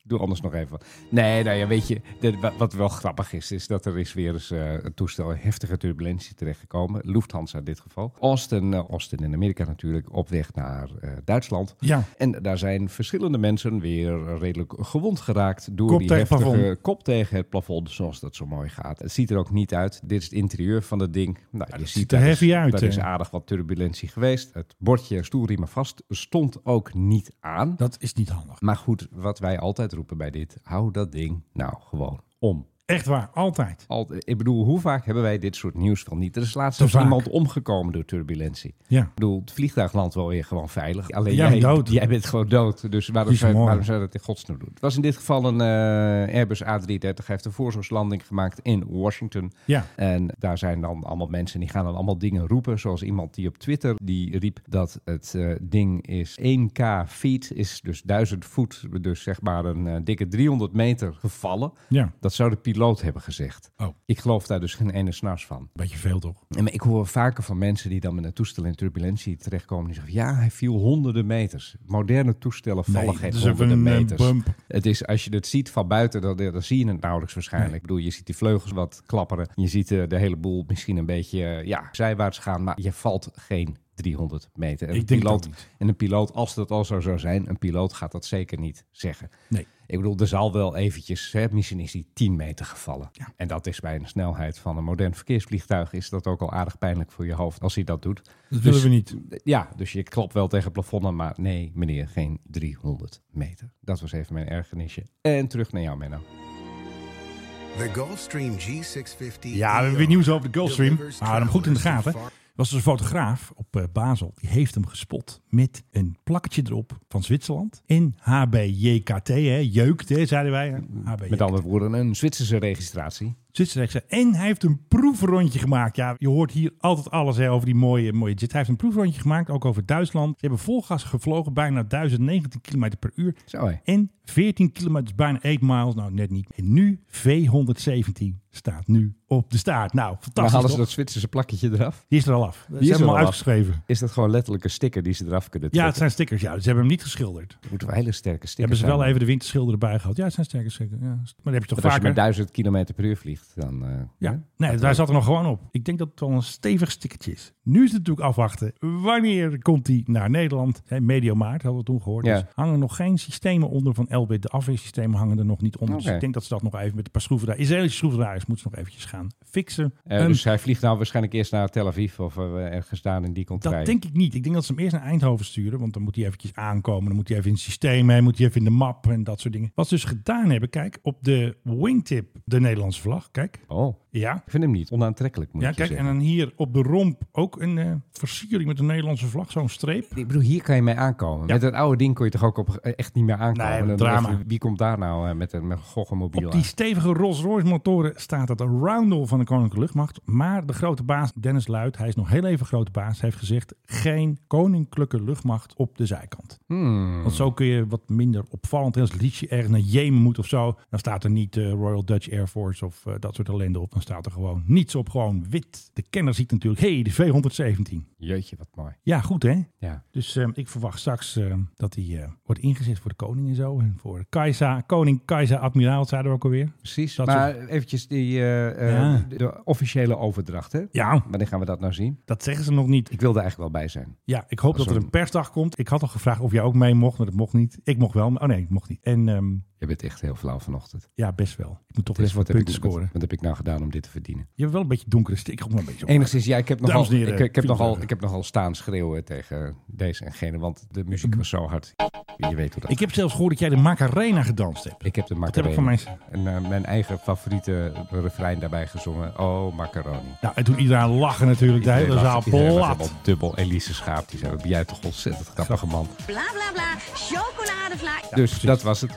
Speaker 8: Doe anders nog even wat. Nee, nou ja, weet je, dit- wa- wat wel grappig is, is dat er is weer eens eh, een toestel in heftige turbulentie terechtgekomen. Lufthansa in dit geval. Austin, eh, Austin in Amerika natuurlijk, op weg naar eh, Duitsland.
Speaker 5: Ja.
Speaker 8: En daar zijn verschillende mensen weer redelijk gewond geraakt door
Speaker 5: Kop
Speaker 8: die
Speaker 5: tegen het
Speaker 8: heftige
Speaker 5: plafond.
Speaker 8: kop tegen het plafond, zoals dat zo mooi gaat. Het ziet er ook niet uit. Dit is het interieur van het ding. Nou, je
Speaker 5: dat
Speaker 8: ziet
Speaker 5: ziet er
Speaker 8: daar
Speaker 5: heavy
Speaker 8: is-
Speaker 5: uit, eh.
Speaker 8: daar
Speaker 5: hè?
Speaker 8: is aardig wat turbulentie geweest. Het bordje stoelriemen vast stond ook niet aan.
Speaker 5: Dat is niet handig.
Speaker 8: Maar goed, wat wij altijd roepen bij dit, hou dat ding nou gewoon om.
Speaker 5: Echt waar, altijd.
Speaker 8: Al, ik bedoel, hoe vaak hebben wij dit soort nieuws van niet? Er is laatst ook
Speaker 5: vaak.
Speaker 8: iemand omgekomen door turbulentie.
Speaker 5: Ja.
Speaker 8: Ik bedoel, het vliegtuig landt wel weer gewoon veilig. Alleen
Speaker 5: Jij
Speaker 8: jij,
Speaker 5: bent dood.
Speaker 8: jij bent gewoon dood. Dus waarom,
Speaker 5: Die is
Speaker 8: zou,
Speaker 5: mooi.
Speaker 8: waarom zou je dat in godsnaam doen? Het was in dit geval een eh, Airbus A330. Hij heeft een voorzorgslanding gemaakt in Washington.
Speaker 5: Ja.
Speaker 8: En daar zijn dan allemaal mensen die gaan dan allemaal dingen roepen. Zoals iemand die op Twitter die riep dat het eh, ding is 1k feet, is dus 1000 voet, dus zeg maar een eh, dikke 300 meter gevallen.
Speaker 5: Ja.
Speaker 8: Dat zou de piloot hebben gezegd.
Speaker 5: Oh.
Speaker 8: Ik geloof daar dus geen ene snars van.
Speaker 5: Beetje veel toch?
Speaker 8: En maar ik hoor vaker van mensen die dan met een toestel in turbulentie terechtkomen. Die zeggen, ja, hij viel honderden meters. Moderne toestellen vallen
Speaker 5: Nee,
Speaker 8: geen
Speaker 5: het is even
Speaker 8: honderden
Speaker 5: een, eh,
Speaker 8: meters.
Speaker 5: bump.
Speaker 8: Het is, als je het ziet van buiten, dan, dan zie je het nauwelijks waarschijnlijk.
Speaker 5: Nee.
Speaker 8: Ik bedoel, je ziet die vleugels wat klapperen. Je ziet eh, de hele boel misschien een beetje eh, ja, zijwaarts gaan. Maar je valt geen 300 meter. En
Speaker 5: Ik
Speaker 8: een
Speaker 5: denk het
Speaker 8: piloot,
Speaker 5: ook niet.
Speaker 8: En een piloot, als dat al zo zou zijn, een piloot gaat dat zeker niet zeggen.
Speaker 5: Nee.
Speaker 8: Ik bedoel, er zal wel eventjes, hè, misschien is die 10 meter gevallen.
Speaker 5: Ja.
Speaker 8: En dat is bij een snelheid van een modern verkeersvliegtuig, is dat ook al aardig pijnlijk voor je hoofd als hij dat doet.
Speaker 5: Dat willen we niet.
Speaker 8: Ja, dus je klopt wel tegen het plafond aan, maar nee meneer, geen 300 meter. Dat was even mijn ergernisje. En terug naar jou Menno.
Speaker 13: The Gulfstream G650.
Speaker 5: Ja, we hebben weer nieuws over de Gulfstream. We houden hem goed in de gaten. was er een fotograaf op eh, Basel. Die heeft hem gespot met een plakketje erop van Zwitserland. En HBJKT, hè, jeukt, hè, zeiden wij. hè. HBJKT.
Speaker 8: Met andere woorden, een Zwitserse registratie.
Speaker 5: Zwitserrechtse. En hij heeft een proefrondje gemaakt. Ja, je hoort hier altijd alles hè, over die mooie, mooie jet. Hij heeft een proefrondje gemaakt, ook over Duitsland. Ze hebben vol gas gevlogen, bijna 1019 km per uur. En 14 kilometer, bijna 8 miles. Nou, net niet. En nu V117 staat nu op de staart. Nou,
Speaker 8: Maar
Speaker 5: fantastisch
Speaker 8: halen ze
Speaker 5: toch?
Speaker 8: dat Zwitserse plakketje eraf?
Speaker 5: Die is er al af. Die is
Speaker 8: er
Speaker 5: helemaal
Speaker 8: al af.
Speaker 5: uitgeschreven.
Speaker 8: Is dat gewoon letterlijk een sticker die ze eraf kunnen
Speaker 5: Ja,
Speaker 8: trekken?
Speaker 5: het zijn stickers. Ja, ze hebben hem niet geschilderd.
Speaker 8: Moeten we hele sterke stickers
Speaker 5: Hebben ze wel
Speaker 8: zijn.
Speaker 5: even de winterschilder erbij gehad? Ja, het zijn sterke stickers. Ja. Maar dat heb je toch
Speaker 8: Want als je
Speaker 5: vaker?
Speaker 8: met 1000 km per uur vliegt, dan... eh,
Speaker 5: Ja,
Speaker 8: hè?
Speaker 5: nee, daar zat er nog gewoon op. Ik denk dat het wel een stevig stickertje is. Nu is het natuurlijk afwachten. Wanneer komt hij naar Nederland? Hè, medio maart hadden we toen gehoord.
Speaker 8: Ja.
Speaker 5: Dus hangen nog geen systemen onder van LB. De afweersystemen hangen er nog niet onder. Dus
Speaker 8: Oké.
Speaker 5: ik denk dat ze dat nog even met een paar schroevendraaiers. Israëlische schroevendraaiers moeten ze nog eventjes gaan fixen.
Speaker 8: Eh,
Speaker 5: Ehm,
Speaker 8: dus hij vliegt nou waarschijnlijk eerst naar Tel Aviv of eh, ergens daar in die
Speaker 5: dat
Speaker 8: contraille.
Speaker 5: denk ik niet. Ik denk dat ze hem eerst naar Eindhoven sturen. Want dan moet hij eventjes aankomen. Dan moet hij even in het systeem. Hij moet hij even in de map en dat soort dingen. Wat ze dus gedaan hebben. Kijk, op de wingtip de Nederlandse vlag. Kijk.
Speaker 8: Oh,
Speaker 5: Ja.
Speaker 8: ik vind hem niet onaantrekkelijk, moet
Speaker 5: ja,
Speaker 8: ik je
Speaker 5: kijk, en
Speaker 8: zeggen.
Speaker 5: dan hier op de romp ook een eh, versiering met de Nederlandse vlag, zo'n streep.
Speaker 8: Ik bedoel, hier kan je mee aankomen.
Speaker 5: Ja.
Speaker 8: Met dat oude ding kon je toch ook op, eh, echt niet meer aankomen?
Speaker 5: Nee,
Speaker 8: Dan
Speaker 5: drama.
Speaker 8: dacht je, wie komt daar nou eh, met een met een goochelmobiel
Speaker 5: Op
Speaker 8: aan?
Speaker 5: die stevige Rolls-Royce motoren staat het roundel van de Koninklijke Luchtmacht. Maar de grote baas, Dennis Luit, hij is nog heel even grote baas, heeft gezegd geen Koninklijke Luchtmacht op de zijkant.
Speaker 8: Hmm.
Speaker 5: Want zo kun je wat minder opvallend, als het liedje ergens naar Jemen moet of zo, dan staat er niet eh, Royal Dutch Air Force of eh, dat soort ellende op. Dan staat er gewoon niets op, gewoon wit. De kenner ziet natuurlijk, hé, hey, de V117.
Speaker 8: Jeetje, wat mooi.
Speaker 5: Ja, goed hè?
Speaker 8: Ja.
Speaker 5: Dus ehm, ik verwacht straks ehm, dat hij eh, wordt ingezet voor de koning en zo. En voor Kaiza, koning, Kaiser, admiraal, zeiden we ook alweer.
Speaker 8: Precies,
Speaker 5: Dat
Speaker 8: maar
Speaker 5: soort-
Speaker 8: eventjes die, eh, eh,
Speaker 5: Ja.
Speaker 8: de, de officiële overdracht, hè?
Speaker 5: Ja.
Speaker 8: Wanneer gaan we dat nou zien?
Speaker 5: Dat zeggen ze nog niet.
Speaker 8: Ik wil er eigenlijk wel bij zijn.
Speaker 5: Ja, ik hoop
Speaker 8: Dat
Speaker 5: dat
Speaker 8: is
Speaker 5: er
Speaker 8: een-
Speaker 5: een persdag komt. Ik had al gevraagd of jij ook mee mocht, maar dat mocht niet. Ik mocht wel, maar oh nee, ik mocht niet. En ehm,
Speaker 8: Je bent echt heel flauw vanochtend.
Speaker 5: ja, best wel. Ik moet toch
Speaker 8: Dus
Speaker 5: even wat
Speaker 8: heb ik-
Speaker 5: punten scoren.
Speaker 8: Wat heb ik nou gedaan om dit te verdienen?
Speaker 5: Je hebt wel een beetje donkere stik. Ik maar een beetje op.
Speaker 8: Enigszins, ja, ik heb,
Speaker 5: Dames
Speaker 8: nogal,
Speaker 5: en heren,
Speaker 8: ik, ik heb
Speaker 5: Philip
Speaker 8: nogal,
Speaker 5: Burger.
Speaker 8: ik heb nogal staan schreeuwen tegen deze en gene, want de muziek was zo hard. Je weet hoe dat
Speaker 5: Ik heb zelfs gehoord dat jij de Macarena gedanst hebt.
Speaker 8: Ik heb de
Speaker 5: heb ik
Speaker 8: macaroni.
Speaker 5: van
Speaker 8: En eh, mijn eigen favoriete refrein daarbij gezongen. Oh, macaroni.
Speaker 5: Nou, en toen iedereen lachen natuurlijk. De hele
Speaker 8: Iedereen
Speaker 5: zaal
Speaker 8: lacht, iedereen was
Speaker 5: plat.
Speaker 8: helemaal Dubbel Elise Schaap, die zei, "Wat ben jij toch ontzettend grappige man.
Speaker 10: Bla bla bla, chocoladevla.
Speaker 8: dus dat was het.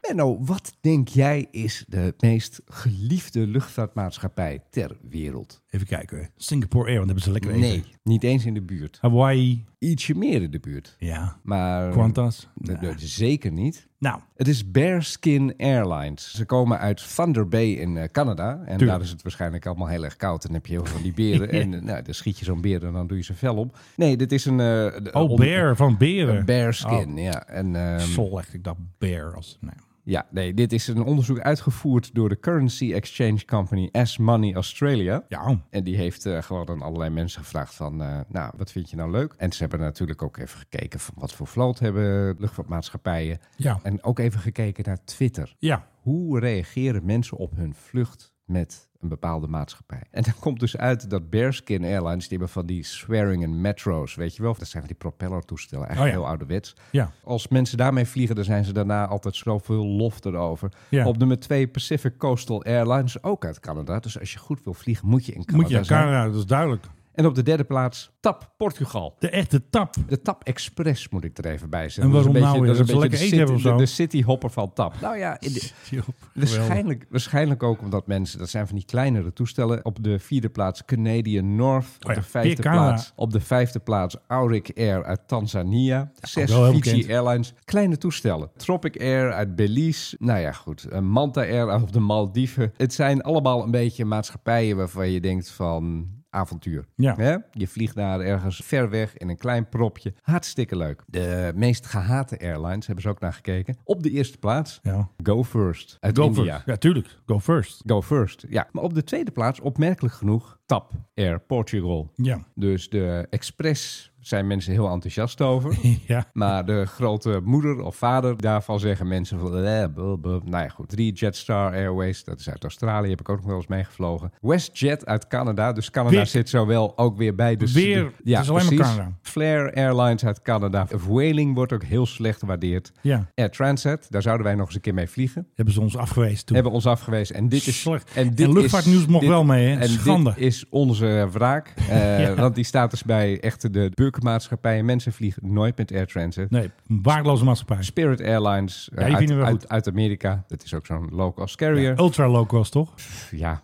Speaker 8: Menno, wat denk jij is de meest geliefde luchtvaartmaatschappij ter wereld?
Speaker 5: Even kijken. Singapore Air, want daar hebben ze lekker eten.
Speaker 8: Nee, niet eens in de buurt.
Speaker 5: Hawaii.
Speaker 8: Ietsje meer in de buurt.
Speaker 5: Ja.
Speaker 8: Maar
Speaker 5: Qantas.
Speaker 8: Nee, nee, zeker niet.
Speaker 5: Nou,
Speaker 8: Het is Bearskin Airlines. Ze komen uit Thunder Bay in eh, Canada. En daar is het waarschijnlijk allemaal heel erg koud. En dan heb je heel veel van die
Speaker 5: (laughs)
Speaker 8: beren. En eh, nou, dan schiet je zo'n beer en dan doe je zijn vel op. Nee, dit is een... eh, de-
Speaker 5: Oh,
Speaker 8: on-
Speaker 5: bear van beren.
Speaker 8: Een bearskin, ja. En, ehm,
Speaker 5: Sol, echt. Ik dacht bear. Als, nee.
Speaker 8: ja, nee, dit is een onderzoek uitgevoerd door de Currency Exchange Company S-Money Australia.
Speaker 5: Ja. oh.
Speaker 8: En die heeft eh, gewoon aan allerlei mensen gevraagd van, eh, nou, wat vind je nou leuk? En ze hebben natuurlijk ook even gekeken van wat voor vloot hebben luchtvaartmaatschappijen.
Speaker 5: Ja.
Speaker 8: En ook even gekeken naar Twitter.
Speaker 5: Ja.
Speaker 8: Hoe reageren mensen op hun vlucht met een bepaalde maatschappij? En dan komt dus uit dat Bearskin Airlines, die hebben van die swearing and metros, weet je wel? Dat zijn van die propellertoestellen, eigenlijk
Speaker 5: Oh ja.
Speaker 8: heel ouderwets.
Speaker 5: Ja.
Speaker 8: Als mensen daarmee vliegen, dan zijn ze daarna altijd zoveel lof erover.
Speaker 5: Ja.
Speaker 8: Op nummer 2 Pacific Coastal Airlines, ook uit Canada. Dus als je goed wil vliegen, moet je in Canada
Speaker 5: Moet je naar
Speaker 8: nou zijn.
Speaker 5: Canada, dat is duidelijk.
Speaker 8: En op de derde plaats TAP Portugal.
Speaker 5: De echte tap.
Speaker 8: De TAP Express moet ik er even bij zetten.
Speaker 5: En
Speaker 8: Dat is
Speaker 5: waarom nou weer?
Speaker 8: dat is
Speaker 5: Dat ze
Speaker 8: beetje
Speaker 5: lekker
Speaker 8: de
Speaker 5: eten hebben
Speaker 8: city-
Speaker 5: of
Speaker 8: De,
Speaker 5: zo?
Speaker 8: de cityhopper van TAP. Nou ja, in de-
Speaker 5: (laughs)
Speaker 8: waarschijnlijk, waarschijnlijk ook omdat mensen... Dat zijn van die kleinere toestellen. Op de vierde plaats Canadian North.
Speaker 5: Oh ja,
Speaker 8: Op de
Speaker 5: weer
Speaker 8: vijfde
Speaker 5: Canada.
Speaker 8: plaats... Op de vijfde plaats Auric Air uit Tanzania. Zes
Speaker 5: wel heel
Speaker 8: Fiji
Speaker 5: bekend.
Speaker 8: Airlines. Kleine toestellen. Tropic Air uit Belize. Nou ja, goed. Eh, Manta Air uit de Maldiven. Het zijn allemaal een beetje maatschappijen waarvan je denkt van avontuur.
Speaker 5: Ja.
Speaker 8: Hè? Je vliegt daar ergens ver weg in een klein propje. Hartstikke leuk. De meest gehate airlines hebben ze ook naar gekeken. Op de eerste plaats
Speaker 5: Ja.
Speaker 8: Go First uit
Speaker 5: Go
Speaker 8: India.
Speaker 5: first. Ja, tuurlijk. Go first.
Speaker 8: Go First, ja. Maar op de tweede plaats, opmerkelijk genoeg, TAP Air Portugal.
Speaker 5: Ja. (laughs)
Speaker 8: Dus de Express zijn mensen heel enthousiast over. (laughs)
Speaker 5: Ja.
Speaker 8: Maar de grote moeder of vader daarvan zeggen mensen van... eh, blah, blah. Nou ja, goed. Drie Jetstar Airways, dat is uit Australië, heb ik ook nog wel eens meegevlogen. WestJet uit Canada, dus Canada
Speaker 5: Weer-
Speaker 8: zit zo wel ook weer bij. Dus
Speaker 5: Weer,
Speaker 8: de-
Speaker 5: het is alleen maar Canada.
Speaker 8: Flair Airlines uit Canada. Vueling wordt ook heel slecht gewaardeerd.
Speaker 5: Ja.
Speaker 8: Air Transat, daar zouden wij nog eens een keer mee vliegen.
Speaker 5: Hebben ze ons afgewezen toen.
Speaker 8: Hebben ons afgewezen. En dit is
Speaker 5: Slecht.
Speaker 8: En,
Speaker 5: En luchtvaartnieuws mocht
Speaker 8: dit-
Speaker 5: wel mee, hè?
Speaker 8: En
Speaker 5: Schande.
Speaker 8: dit is onze
Speaker 5: (laughs)
Speaker 8: wraak. Eh,
Speaker 5: Ja.
Speaker 8: Want die staat dus bij echt de burgermaatschappijen. Mensen vliegen nooit met Air Transit.
Speaker 5: Nee, een waardeloze maatschappij.
Speaker 8: Spirit Airlines eh,
Speaker 5: Ja, die
Speaker 8: uit,
Speaker 5: vinden we
Speaker 8: uit, uit Amerika. Dat is ook zo'n low-cost carrier. Ja,
Speaker 5: Ultra low cost, toch?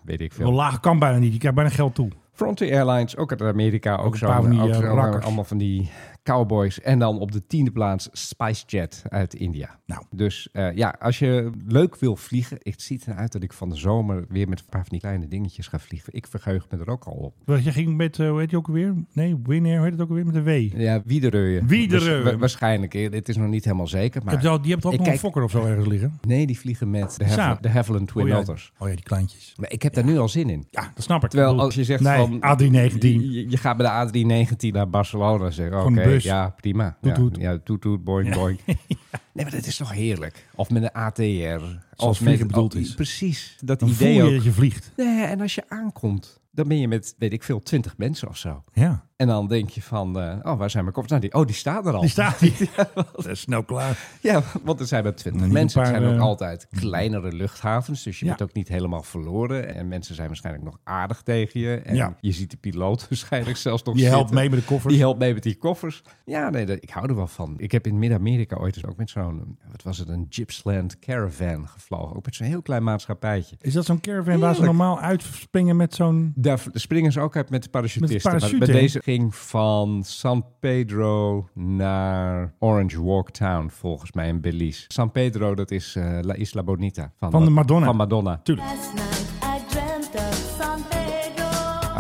Speaker 8: weet ik
Speaker 5: Oh. Wel
Speaker 8: veel.
Speaker 5: laag kan bijna niet. Je krijgt bijna geld toe.
Speaker 8: Frontier Airlines, ook uit Amerika. Ook,
Speaker 5: een
Speaker 8: zo'n-
Speaker 5: paar van die,
Speaker 8: ook
Speaker 5: eh,
Speaker 8: zo'n-
Speaker 5: rakkers.
Speaker 8: allemaal van die cowboys. En dan op de tiende plaats SpiceJet uit India. Nou. Dus eh, ja, als je leuk wil vliegen. Het ziet eruit dat ik van de zomer weer met een paar van die kleine dingetjes ga vliegen. Ik verheug me er ook al op.
Speaker 5: Want Je ging met, eh, hoe heet je ook weer? Nee, Winair, hoe heet het ook weer? Met de W.
Speaker 8: Ja, Wiedereu.
Speaker 5: Wiedereu.
Speaker 8: Wa- wa- waarschijnlijk. eh, Dit is nog niet helemaal zeker. Maar
Speaker 5: Heb je al- die hebt ook
Speaker 8: Ik
Speaker 5: nog een
Speaker 8: kijk-
Speaker 5: fokker of zo ergens liggen?
Speaker 8: Nee, die vliegen met de,
Speaker 5: Saab.
Speaker 8: Hav- de Havilland Twin
Speaker 5: Oh ja,
Speaker 8: Otters.
Speaker 5: Oh ja, die kleintjes.
Speaker 8: Maar ik heb daar nu al zin in.
Speaker 5: Ja, dat snap ik. Ik
Speaker 8: Terwijl
Speaker 5: bedoel,
Speaker 8: als je zegt
Speaker 5: nee,
Speaker 8: van...
Speaker 5: A319.
Speaker 8: Je, je gaat met de A319 naar Barcelona en zeggen... Oké,
Speaker 5: Gewoon een bus.
Speaker 8: ja, prima.
Speaker 5: Toet,
Speaker 8: ja,
Speaker 5: toet.
Speaker 8: Ja, toet, toet,
Speaker 5: (laughs)
Speaker 8: boing, boing. Nee, maar dat is toch heerlijk. Of met een ATR.
Speaker 5: Zoals
Speaker 8: met,
Speaker 5: vliegen bedoeld is.
Speaker 8: Oh, Precies. Dat
Speaker 5: Dan
Speaker 8: idee
Speaker 5: voel je
Speaker 8: ook.
Speaker 5: dat je vliegt.
Speaker 8: Nee, en als je aankomt, dan ben je met, weet ik veel, twintig mensen of zo.
Speaker 5: Ja.
Speaker 8: (laughs) En dan denk je van, eh, oh, waar zijn mijn koffers? Nou, die, oh, die staan er al.
Speaker 5: Die staat hier.
Speaker 8: (laughs)
Speaker 5: dat is snel klaar.
Speaker 8: Ja, want er zijn maar twintig
Speaker 5: niet
Speaker 8: mensen.
Speaker 5: een paar,
Speaker 8: het zijn ook
Speaker 5: eh,
Speaker 8: altijd kleinere luchthavens. Dus je bent ook niet helemaal verloren. En mensen zijn waarschijnlijk nog aardig tegen je. En
Speaker 5: Ja.
Speaker 8: je ziet de piloot (laughs) waarschijnlijk zelfs nog
Speaker 5: Die helpt
Speaker 8: zitten.
Speaker 5: mee met de koffers.
Speaker 8: Die helpt mee met die koffers. Ja, nee, dat, ik hou er wel van. Ik heb in Midden-Amerika ooit eens ook met zo'n... Wat was het? Een Gippsland Caravan gevlogen. Ook met zo'n heel klein maatschappijtje.
Speaker 5: Is dat zo'n caravan waar ze
Speaker 8: Heerlijk.
Speaker 5: normaal uitspringen met zo'n...
Speaker 8: Daar v- springen ze ook uit met de
Speaker 5: Met de
Speaker 8: parachutisten.
Speaker 5: parachute,
Speaker 8: maar bij
Speaker 5: hè?
Speaker 8: deze ging van San Pedro naar Orange Walk Town, volgens mij in Belize. San Pedro, dat is eh, La Isla Bonita.
Speaker 5: Van de Madonna.
Speaker 8: Van Madonna.
Speaker 5: Tuurlijk.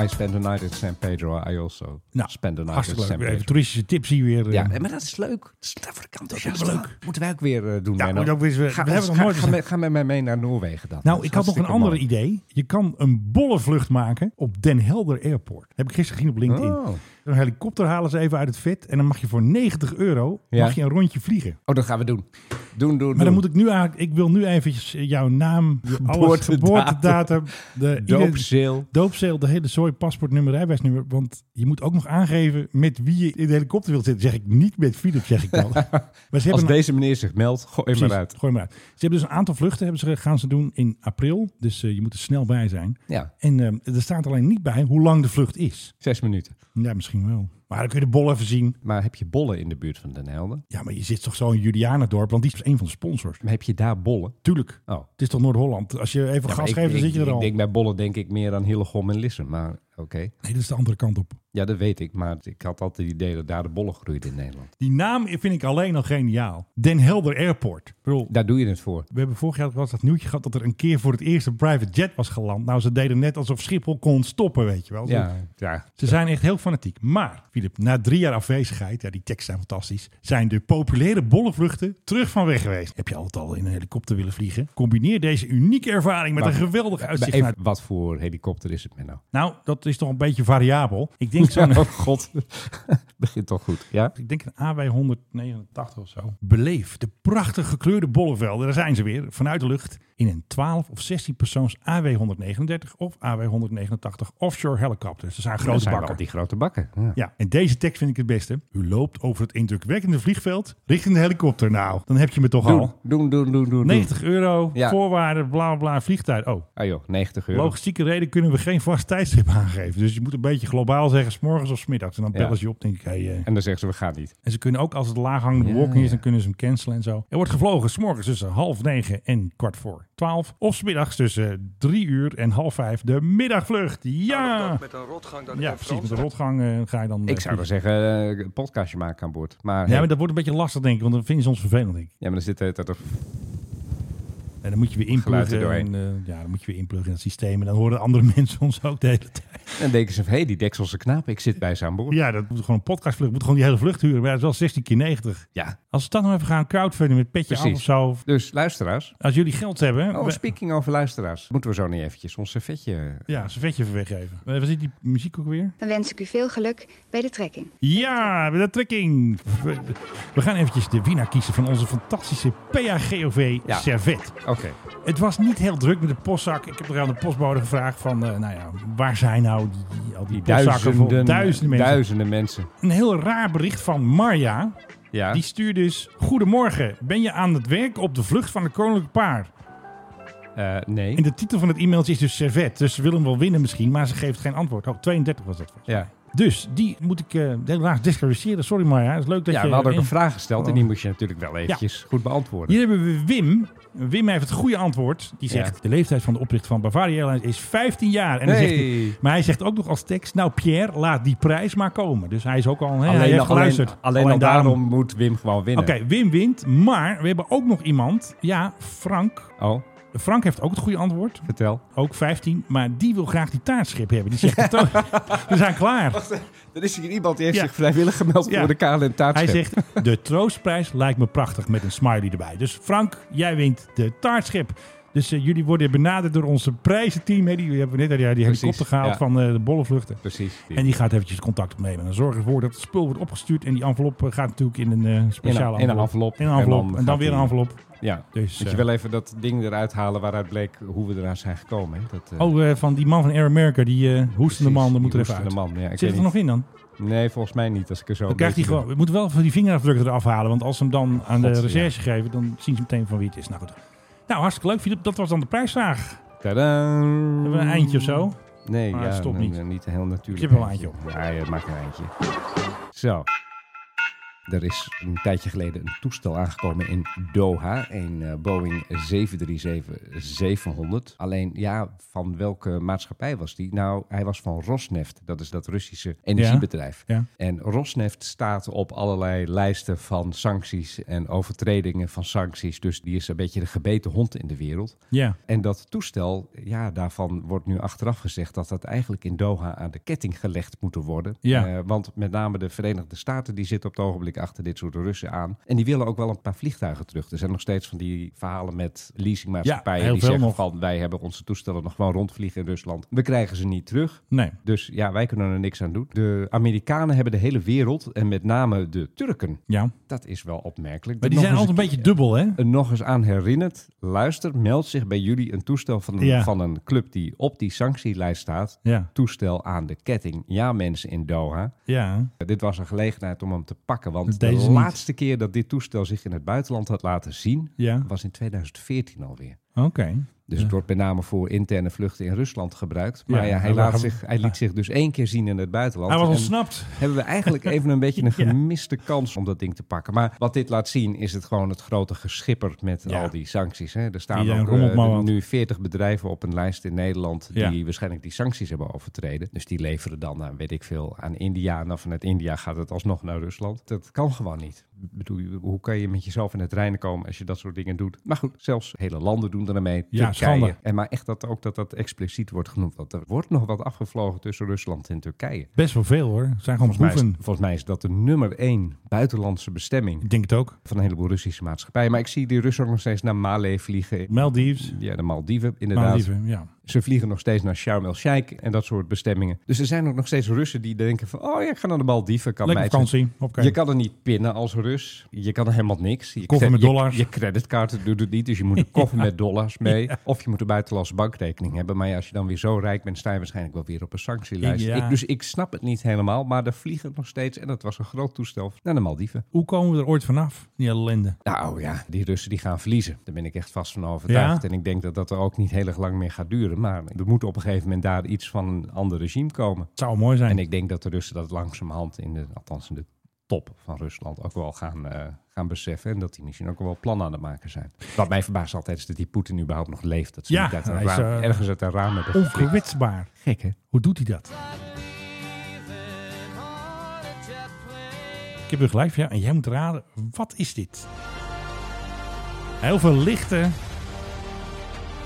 Speaker 8: I spend the night at San Pedro. I also
Speaker 5: Nou,
Speaker 8: spend the night at
Speaker 5: hartstikke
Speaker 8: San
Speaker 5: leuk. Even
Speaker 8: Pedro.
Speaker 5: toeristische tips hier weer. eh.
Speaker 8: Ja, nee, maar dat is leuk. Dat is dat wordt ik enthousiast
Speaker 5: leuk.
Speaker 8: van. Moeten wij ook weer eh, doen,
Speaker 5: Ja,
Speaker 8: Menno.
Speaker 5: moet ook weer eens weer-
Speaker 8: Ga,
Speaker 5: we
Speaker 8: ons-
Speaker 5: hebben nog
Speaker 8: ga-
Speaker 5: nooit
Speaker 8: ga
Speaker 5: eens-
Speaker 8: met- ga met mij mee naar Noorwegen dan. Dat
Speaker 5: Nou,
Speaker 8: is
Speaker 5: ik had nog een
Speaker 8: hartstikke
Speaker 5: ander
Speaker 8: mooi.
Speaker 5: idee. Je kan een bolle vlucht maken op Den Helder Airport. Heb ik gisteren gezien op LinkedIn.
Speaker 8: Oh.
Speaker 5: Een helikopter halen ze even uit het vet. En dan mag je voor 90 euro
Speaker 8: Ja.
Speaker 5: mag je een rondje vliegen.
Speaker 8: Oh, dat gaan we doen. Doen, doen,
Speaker 5: Maar
Speaker 8: doen.
Speaker 5: dan moet ik nu eigenlijk... Ik wil nu eventjes eh, jouw naam,
Speaker 8: (laughs)
Speaker 5: je alles,
Speaker 8: Geboortedatum.
Speaker 5: geboortedatum,
Speaker 8: (laughs)
Speaker 5: de
Speaker 8: Doopzeel.
Speaker 5: doopzeel, de hele zooi, paspoortnummer, rijbewijsnummer. Want je moet ook nog aangeven met wie je in de helikopter wilt zitten. Zeg ik niet met Philip, zeg ik
Speaker 8: (laughs)
Speaker 5: dan. maar ze hebben
Speaker 8: Als
Speaker 5: een-
Speaker 8: deze meneer zich meldt, gooi hem
Speaker 5: Precies,
Speaker 8: eruit.
Speaker 5: Gooi maar uit. Ze hebben dus een aantal vluchten hebben ze, gaan ze doen in april. Dus eh, je moet er snel bij zijn.
Speaker 8: Ja.
Speaker 5: En ehm, er staat alleen niet bij hoe lang de vlucht is.
Speaker 8: Zes minuten.
Speaker 5: Ja, misschien wel. Maar dan kun je de bol even zien.
Speaker 8: Maar heb je bollen in de buurt van Den Helder?
Speaker 5: Ja, maar je zit toch zo in Julianendorp, want die is een van de sponsors.
Speaker 8: Maar heb je daar bollen?
Speaker 5: Tuurlijk.
Speaker 8: Oh.
Speaker 5: Het is toch Noord-Holland? Als je even
Speaker 8: Ja, maar
Speaker 5: gas
Speaker 8: ik-
Speaker 5: geeft, dan
Speaker 8: ik-
Speaker 5: zit je er
Speaker 8: ik
Speaker 5: al.
Speaker 8: denk bij bollen denk ik meer aan Hillegom en Lissum, maar oké.
Speaker 5: Nee, dat is de andere kant op.
Speaker 8: Ja, dat weet ik, maar ik had altijd het idee dat daar de bollen groeiden in Nederland.
Speaker 5: Die naam vind ik alleen al geniaal. Den Helder Airport. Ik bedoel,
Speaker 8: Daar doe je het voor.
Speaker 5: we hebben vorig jaar was dat nieuwtje gehad dat er een keer voor het eerst een private jet was geland. Nou, ze deden net alsof Schiphol kon stoppen, weet je wel.
Speaker 8: Ja, ja.
Speaker 5: Ze zijn echt heel fanatiek. Maar, Filip, na drie jaar afwezigheid, ja, die teksten zijn fantastisch, zijn de populaire bollevluchten terug van weg geweest. Heb je altijd al in een helikopter willen vliegen? Combineer deze unieke ervaring met
Speaker 8: Maar-
Speaker 5: een geweldig
Speaker 8: Maar
Speaker 5: uitzicht.
Speaker 8: even,
Speaker 5: naar-
Speaker 8: wat voor helikopter is het met nou?
Speaker 5: Nou, dat is toch een beetje variabel. Ik denk
Speaker 8: (laughs)
Speaker 5: zo'n...
Speaker 8: Oh god, begint toch goed. Ja?
Speaker 5: Ik denk een AW 189 of zo. Beleef de prachtig gekleurde bollevelden. Daar zijn ze weer, vanuit de lucht. In een 12 of 16 persoons AW 139 of AW 189 offshore helicopters. Dat zijn grote
Speaker 8: Dat zijn
Speaker 5: bakken.
Speaker 8: al die grote bakken. Ja.
Speaker 5: Ja, en deze tekst vind ik het beste. U loopt over het indrukwekkende vliegveld richting de helikopter. Nou, dan heb je me toch
Speaker 8: Doen,
Speaker 5: al.
Speaker 8: doen, doen, doen, doen.
Speaker 5: 90 euro,
Speaker 8: Ja.
Speaker 5: voorwaarden, bla bla, bla, vliegtuig. Oh,
Speaker 8: Ah joh, 90 euro.
Speaker 5: logistieke reden kunnen we geen vast tijdstip aangeven. Dus je moet een beetje globaal zeggen, s morgens of s middags. En dan
Speaker 8: Ja.
Speaker 5: bellen ze je op, denk ik. Hey, eh.
Speaker 8: En dan zeggen ze, we gaan niet.
Speaker 5: En ze kunnen ook, als het laaghangende
Speaker 8: Ja,
Speaker 5: bewolking is,
Speaker 8: ja.
Speaker 5: dan kunnen ze hem cancelen en zo. Er wordt gevlogen s'morgens tussen half negen en kwart voor twaalf. Of smiddags tussen drie uur en half vijf de middagvlucht. Ja!
Speaker 9: Met een rotgang dan
Speaker 5: Ja,
Speaker 9: in
Speaker 5: precies. Met
Speaker 9: Frans.
Speaker 5: de rotgang eh, ga je dan... eh,
Speaker 8: Ik
Speaker 5: vliegen.
Speaker 8: zou dan zeggen, eh, een podcastje maken aan boord. Maar,
Speaker 5: Ja,
Speaker 8: hey,
Speaker 5: maar dat wordt een beetje lastig, denk ik. Want dan vinden ze ons vervelend, denk ik.
Speaker 8: ja, maar dan zit het dat er
Speaker 5: En dan moet je weer
Speaker 8: Geluid
Speaker 5: inpluggen.
Speaker 8: erdoorheen.
Speaker 5: (laughs) en, eh, ja, dan moet je weer inpluggen in het systeem. En dan horen andere mensen ons ook de hele tijd.
Speaker 8: En denken ze van, hé, hey, die dekselse knaap, ik zit bij ze aan boord.
Speaker 5: Ja, dat moet gewoon een podcastvlucht. Moet gewoon die hele vlucht huren. Maar ja, dat is wel 16 keer 90.
Speaker 8: Ja.
Speaker 5: Als we dat nou even gaan crowdfunding met petje af of
Speaker 8: Precies.
Speaker 5: zo.
Speaker 8: Dus luisteraars.
Speaker 5: Als jullie geld hebben.
Speaker 8: Oh,
Speaker 5: we-
Speaker 8: speaking over luisteraars. Moeten we zo niet eventjes ons servetje...
Speaker 5: ja, een servetje even weggeven. Eh, Waar zit die muziek ook weer?
Speaker 13: Dan wens ik u veel geluk bij de trekking.
Speaker 5: Ja, met de trekking. We- We gaan eventjes de winnaar kiezen van onze fantastische PAGOV
Speaker 8: Ja.
Speaker 5: servet.
Speaker 8: Oké.
Speaker 5: Het was niet heel druk met de postzak. Ik heb er aan de postbode gevraagd van, eh, nou ja, waar zijn nou die, die- al die, postzakken vol
Speaker 8: Duizenden,
Speaker 5: duizenden mensen?
Speaker 8: duizenden mensen.
Speaker 5: Een heel raar bericht van Marja.
Speaker 8: Ja.
Speaker 5: Die stuurt dus, goedemorgen, ben je aan het werk op de vlucht van het koninklijk paar?
Speaker 8: Eh, nee.
Speaker 5: En de titel van het e-mailtje is dus servet. Dus ze willen hem wel winnen misschien, maar ze geeft geen antwoord. Oh, 32 was dat.
Speaker 8: Ja.
Speaker 5: Dus die moet ik eh, helaas disqualificeren. Sorry Marja, het is leuk dat
Speaker 8: ja,
Speaker 5: je...
Speaker 8: we hadden ook
Speaker 5: in-
Speaker 8: een vraag gesteld en die moest je natuurlijk wel eventjes goed beantwoorden.
Speaker 5: Hier hebben we Wim. Wim heeft het goede antwoord. Die zegt,
Speaker 8: Ja.
Speaker 5: de leeftijd van de oprichter van Bavaria Airlines is 15 jaar. En dan
Speaker 8: Hey.
Speaker 5: zegt hij, maar hij zegt ook nog als tekst, nou Pierre, laat die prijs maar komen. Dus hij is ook al, hè, hij
Speaker 8: alleen,
Speaker 5: heeft
Speaker 8: al-
Speaker 5: geluisterd.
Speaker 8: alleen, alleen al daarom, moet Wim gewoon
Speaker 5: Oké,
Speaker 8: winnen.
Speaker 5: Wim wint, maar we hebben ook nog iemand. Ja, Frank.
Speaker 8: Oh.
Speaker 5: Frank heeft ook het goede antwoord.
Speaker 8: Vertel.
Speaker 5: Ook 15, maar die wil graag die taartschip hebben. Die
Speaker 8: (laughs)
Speaker 5: zegt, we zijn klaar.
Speaker 8: Er is hier iemand die
Speaker 5: heeft Ja. zich
Speaker 8: heeft zich vrijwillig gemeld
Speaker 5: Ja.
Speaker 8: voor de KLM
Speaker 5: Hij
Speaker 8: taartschip.
Speaker 5: zegt, de troostprijs lijkt me prachtig met een smiley erbij. Dus Frank, jij wint de taartschip. Dus eh, jullie worden benaderd door onze prijzenteam. Hè? Die hebben we net uit die, die
Speaker 8: Precies,
Speaker 5: helikopter gehaald
Speaker 8: ja.
Speaker 5: van eh, de bollevluchten.
Speaker 8: Precies.
Speaker 5: En die gaat eventjes contact opnemen. En dan zorgen we ervoor dat het spul wordt opgestuurd. En die envelop eh, gaat natuurlijk in een eh, speciale
Speaker 8: in een envelop.
Speaker 5: In een envelop.
Speaker 8: En
Speaker 5: En dan,
Speaker 8: dan gaat
Speaker 5: weer een
Speaker 8: die-
Speaker 5: envelop.
Speaker 8: Ja,
Speaker 5: Dus,
Speaker 8: moet
Speaker 5: eh,
Speaker 8: je wel even dat ding eruit halen waaruit bleek hoe we eraan zijn gekomen. Hè? Dat, eh,
Speaker 5: Oh, eh, van die man van Air America, die eh, hoestende man, dat moet er
Speaker 8: die
Speaker 5: even uit.
Speaker 8: hoestende man, ja, ik
Speaker 5: Zit
Speaker 8: weet
Speaker 5: het er nog
Speaker 8: niet.
Speaker 5: in dan?
Speaker 8: Nee, volgens mij niet. Als ik er zo
Speaker 5: Dan
Speaker 8: een
Speaker 5: krijgt hij
Speaker 8: beetje
Speaker 5: gewoon. We moeten wel van die vingerafdrukken eraf halen. Want als ze hem dan aan de
Speaker 8: God,
Speaker 5: recherche geven, dan zien ze meteen van wie het is. Nou goed. Nou, hartstikke leuk, Filip. Dat was dan de prijsvraag.
Speaker 8: door- Tadaa!
Speaker 5: Hebben we een eindje of zo?
Speaker 8: Nee,
Speaker 5: Maar
Speaker 8: ja,
Speaker 5: het stopt
Speaker 8: nee,
Speaker 5: niet.
Speaker 8: nee, niet een heel natuurlijk.
Speaker 5: Ik heb wel een eindje
Speaker 8: op. Ja, je maakt een eindje. Zo. Er is een tijdje geleden een toestel aangekomen in Doha, een eh, Boeing 737-700. Alleen ja, van welke maatschappij was die? Nou, hij was van Rosneft, dat is dat Russische energiebedrijf.
Speaker 5: Ja.
Speaker 8: En Rosneft staat op allerlei lijsten van sancties en overtredingen van sancties. Dus die is een beetje de gebeten hond in de wereld.
Speaker 5: Ja.
Speaker 8: En dat toestel, ja, daarvan wordt nu achteraf gezegd dat dat eigenlijk in Doha aan de ketting gelegd moet worden.
Speaker 5: Ja.
Speaker 8: Eh, want met name de Verenigde Staten die zitten op het ogenblik achter dit soort Russen aan. En die willen ook wel een paar vliegtuigen terug. Er zijn nog steeds van die verhalen met leasingmaatschappijen
Speaker 5: Ja, heel
Speaker 8: die
Speaker 5: veel
Speaker 8: zeggen
Speaker 5: nog.
Speaker 8: van wij hebben onze toestellen nog gewoon rondvliegen in Rusland. We krijgen ze niet terug.
Speaker 5: Nee.
Speaker 8: Dus ja, wij kunnen er niks aan doen. De Amerikanen hebben de hele wereld en met name de Turken.
Speaker 5: Ja.
Speaker 8: Dat is wel opmerkelijk.
Speaker 5: Maar die
Speaker 8: Nog
Speaker 5: zijn
Speaker 8: eens
Speaker 5: altijd een beetje dubbel, hè?
Speaker 8: er nog eens aan herinnert, luister, meldt zich bij jullie een toestel van een,
Speaker 5: Ja.
Speaker 8: van een club die op die sanctielijst staat.
Speaker 5: Ja.
Speaker 8: Toestel aan de ketting. Ja, mensen in Doha.
Speaker 5: Ja.
Speaker 8: Dit was een gelegenheid om hem te pakken. Want
Speaker 5: Deze
Speaker 8: de
Speaker 5: niet.
Speaker 8: laatste keer dat dit toestel zich in het buitenland had laten zien,
Speaker 5: Ja.
Speaker 8: was in 2014 alweer.
Speaker 5: Oké.
Speaker 8: Dus het wordt met name voor interne vluchten in Rusland gebruikt.
Speaker 5: Ja,
Speaker 8: Maar ja,
Speaker 5: hij
Speaker 8: hij, laat
Speaker 5: lag-
Speaker 8: zich, hij liet zich dus één keer zien in het buitenland.
Speaker 5: Ah. Hij was
Speaker 8: En
Speaker 5: ontsnapt.
Speaker 8: Hebben we eigenlijk even een
Speaker 5: (laughs)
Speaker 8: beetje een gemiste kans om dat ding te pakken. Maar wat dit laat zien is het gewoon het grote geschipper met
Speaker 5: Ja.
Speaker 8: al die sancties. Hè. Er staan
Speaker 5: Die, eh,
Speaker 8: ook,
Speaker 5: rommelt
Speaker 8: eh,
Speaker 5: maar wat.
Speaker 8: nu 40 bedrijven op een lijst in Nederland
Speaker 5: Ja.
Speaker 8: die waarschijnlijk die sancties hebben overtreden. Dus die leveren dan, aan, weet ik veel, aan India. En dan vanuit India gaat het alsnog naar Rusland. Dat kan gewoon niet. Ik bedoel, hoe kan je met jezelf in het reinen komen als je dat soort dingen doet? Maar goed, zelfs hele landen doen er mee.
Speaker 5: Ja,
Speaker 8: Turkije.
Speaker 5: schande.
Speaker 8: En maar echt dat ook dat dat expliciet wordt genoemd. Want er wordt nog wat afgevlogen tussen Rusland en Turkije.
Speaker 5: Best wel veel, hoor. Het zijn gewoon
Speaker 8: Volgens mij,
Speaker 5: boeven.
Speaker 8: is, volgens mij is dat de nummer één buitenlandse bestemming. Ik
Speaker 5: denk het ook.
Speaker 8: Van een heleboel Russische maatschappijen. Maar ik zie die Russen ook nog steeds naar Malé vliegen.
Speaker 5: Maldives.
Speaker 8: Ja, de Maldiven inderdaad.
Speaker 5: Maldiven, ja.
Speaker 8: Ze vliegen nog steeds naar Sharm el-Sheikh en dat soort bestemmingen. Dus er zijn ook nog steeds Russen die denken van... oh ja, ik ga naar de Maldiven. Kan
Speaker 5: Lekker
Speaker 8: mij-
Speaker 5: vakantie. Oké.
Speaker 8: Je kan er niet pinnen als Rus. Je kan er helemaal niks. Je
Speaker 5: Koffer
Speaker 8: cre-
Speaker 5: met
Speaker 8: je-
Speaker 5: dollars.
Speaker 8: Je, creditcard doet het niet, dus je
Speaker 5: (laughs)
Speaker 8: moet een koffer met dollars mee. Of je moet een buitenlandse bankrekening hebben. Maar ja, als je dan weer zo rijk bent, sta je waarschijnlijk wel weer op een sanctielijst.
Speaker 5: Ja.
Speaker 8: Ik, dus ik snap het niet helemaal, maar er vliegen nog steeds... en dat was een groot toestel naar de Maldiven.
Speaker 5: Hoe komen we er ooit vanaf? Die ellende.
Speaker 8: Nou ja, die Russen die gaan verliezen. Daar ben ik echt vast van overtuigd.
Speaker 5: Ja?
Speaker 8: En ik denk dat dat er ook niet heel erg lang meer gaat duren. Maar er moet op een gegeven moment daar iets van een ander regime komen.
Speaker 5: zou mooi zijn.
Speaker 8: En ik denk dat de Russen dat langzamerhand, in de, althans in de top van Rusland, ook wel gaan, eh, gaan beseffen. En dat die misschien ook wel plannen aan het maken zijn. Wat mij verbaast altijd is dat die Poetin überhaupt nog leeft. Dat ze
Speaker 5: Ja,
Speaker 8: niet uit een
Speaker 5: hij is,
Speaker 8: raam-
Speaker 5: eh,
Speaker 8: ergens uit een raam hebben geflikt.
Speaker 5: Onkwetsbaar.
Speaker 8: Gek, hè?
Speaker 5: Hoe doet hij dat? Ik heb weer gelijk van jou en jij moet raden, wat is dit? Heel veel lichten.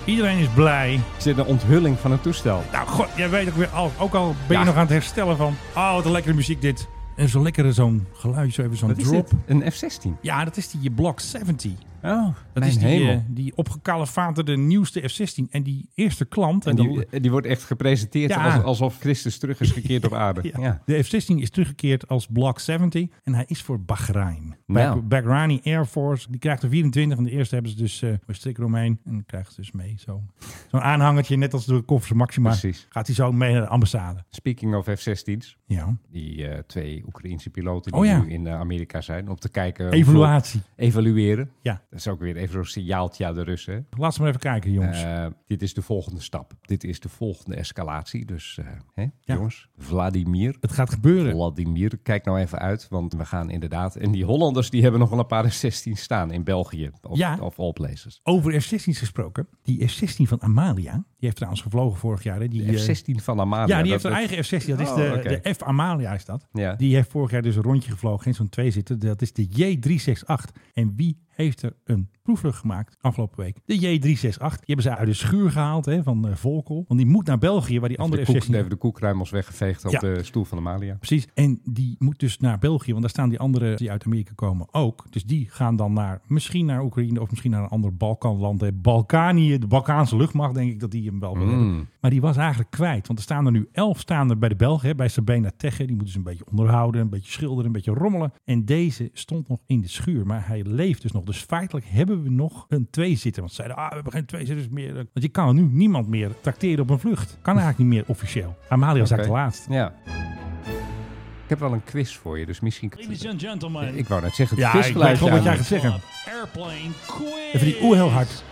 Speaker 5: Iedereen is blij.
Speaker 8: zit een onthulling van het toestel.
Speaker 5: Nou, god, jij weet ook weer alles. Ook al ben
Speaker 8: Ja.
Speaker 5: je nog aan het herstellen van... Oh, wat een lekkere muziek dit. En zo'n lekkere zo'n geluid, zo even zo'n
Speaker 8: Wat is
Speaker 5: drop.
Speaker 8: dit? Een F-16?
Speaker 5: Ja, dat is die eh, Block 70.
Speaker 8: Oh,
Speaker 5: Dat
Speaker 8: mijn
Speaker 5: is die,
Speaker 8: hemel.
Speaker 5: eh, die opgekalefaterde nieuwste F-16. En die eerste klant...
Speaker 8: En
Speaker 5: de-
Speaker 8: die, eh, die wordt echt gepresenteerd
Speaker 5: Ja.
Speaker 8: als- alsof Christus terug is gekeerd op
Speaker 5: (laughs)
Speaker 8: aarde.
Speaker 5: Ja.
Speaker 8: Ja.
Speaker 5: De F-16 is teruggekeerd als Block 70 en hij is voor Bahrein.
Speaker 8: Nou.
Speaker 5: Bah- Bahreini Air Force, die krijgt er 24 van de eerste hebben ze dus eh een strik eromheen en krijgt ze dus mee. zo. Zo'n aanhangertje, net als door de koffers Maxima,
Speaker 8: Precies.
Speaker 5: gaat hij zo mee naar de ambassade.
Speaker 8: Speaking of F-16's.
Speaker 5: Ja.
Speaker 8: Die eh, twee Oekraïense piloten die
Speaker 5: Oh ja.
Speaker 8: nu in eh, Amerika zijn. Om te kijken.
Speaker 5: Evaluatie.
Speaker 8: hoeveel- Evalueren.
Speaker 5: Ja.
Speaker 8: Dat is ook weer even zo'n signaaltje aan de Russen. hè.
Speaker 5: Laat ze maar even kijken, jongens.
Speaker 8: Eh, dit is de volgende stap. Dit is de volgende escalatie. Dus eh, hè,
Speaker 5: Ja.
Speaker 8: jongens, Vladimir.
Speaker 5: Het gaat gebeuren.
Speaker 8: Vladimir, kijk nou even uit. Want we gaan inderdaad... En die Hollanders die hebben nog wel een paar F-16 staan in België. Of,
Speaker 5: Ja.
Speaker 8: of all places.
Speaker 5: Over F-16's gesproken, die F-16 van Amalia, die heeft trouwens gevlogen vorig jaar. Hè? Die,
Speaker 8: De
Speaker 5: eh,
Speaker 8: F-16 van Amalia.
Speaker 5: Ja, die
Speaker 8: dat-
Speaker 5: heeft haar eigen F-16. Dat is
Speaker 8: Oh,
Speaker 5: de,
Speaker 8: oké.
Speaker 5: de F Amalia is dat.
Speaker 8: Ja.
Speaker 5: Die heeft vorig jaar dus een rondje gevlogen. Geen zo'n twee zitten. Dat is de J368. En wie heeft er een proefvlucht gemaakt afgelopen week? De J368. Die hebben ze uit de schuur gehaald hè, van eh, Volkel. Want die moet naar België, waar die
Speaker 8: Even
Speaker 5: andere
Speaker 8: de, koek,
Speaker 5: F-16...
Speaker 8: even de koekruimels weggeveegd op
Speaker 5: Ja.
Speaker 8: de stoel van Amalia.
Speaker 5: Precies. En die moet dus naar België, want daar staan die anderen die uit Amerika komen ook. Dus die gaan dan naar, misschien naar Oekraïne of misschien naar een ander Balkanland. hè. Balkanië, de Balkaanse luchtmacht, denk ik dat die hem wel wil
Speaker 8: Mm.
Speaker 5: hebben. Maar die was eigenlijk kwijt, want er staan er nu elf staan er bij de Belgen, hè, bij Sabena Tegge. Die moeten ze een beetje onderhouden, een beetje schilderen, een beetje rommelen. En deze stond nog in de schuur, maar hij leeft dus nog. Dus feitelijk hebben we nog een tweezitter. Want ze zeiden, ah, we hebben geen tweezitters meer. Want je kan nu niemand meer tracteren op een vlucht. Kan eigenlijk niet meer officieel. Amalia was
Speaker 8: Oké.
Speaker 5: eigenlijk de laatste.
Speaker 8: Ja. Ik heb wel een quiz voor je, dus misschien...
Speaker 14: Ladies and gentlemen.
Speaker 8: Ik wou net zeggen, het
Speaker 5: Ja,
Speaker 8: quizgeluidje
Speaker 5: ik weet gewoon wat jij
Speaker 8: aan.
Speaker 5: gaat zeggen.
Speaker 14: Airplane quiz.
Speaker 5: Even die oe heel hard.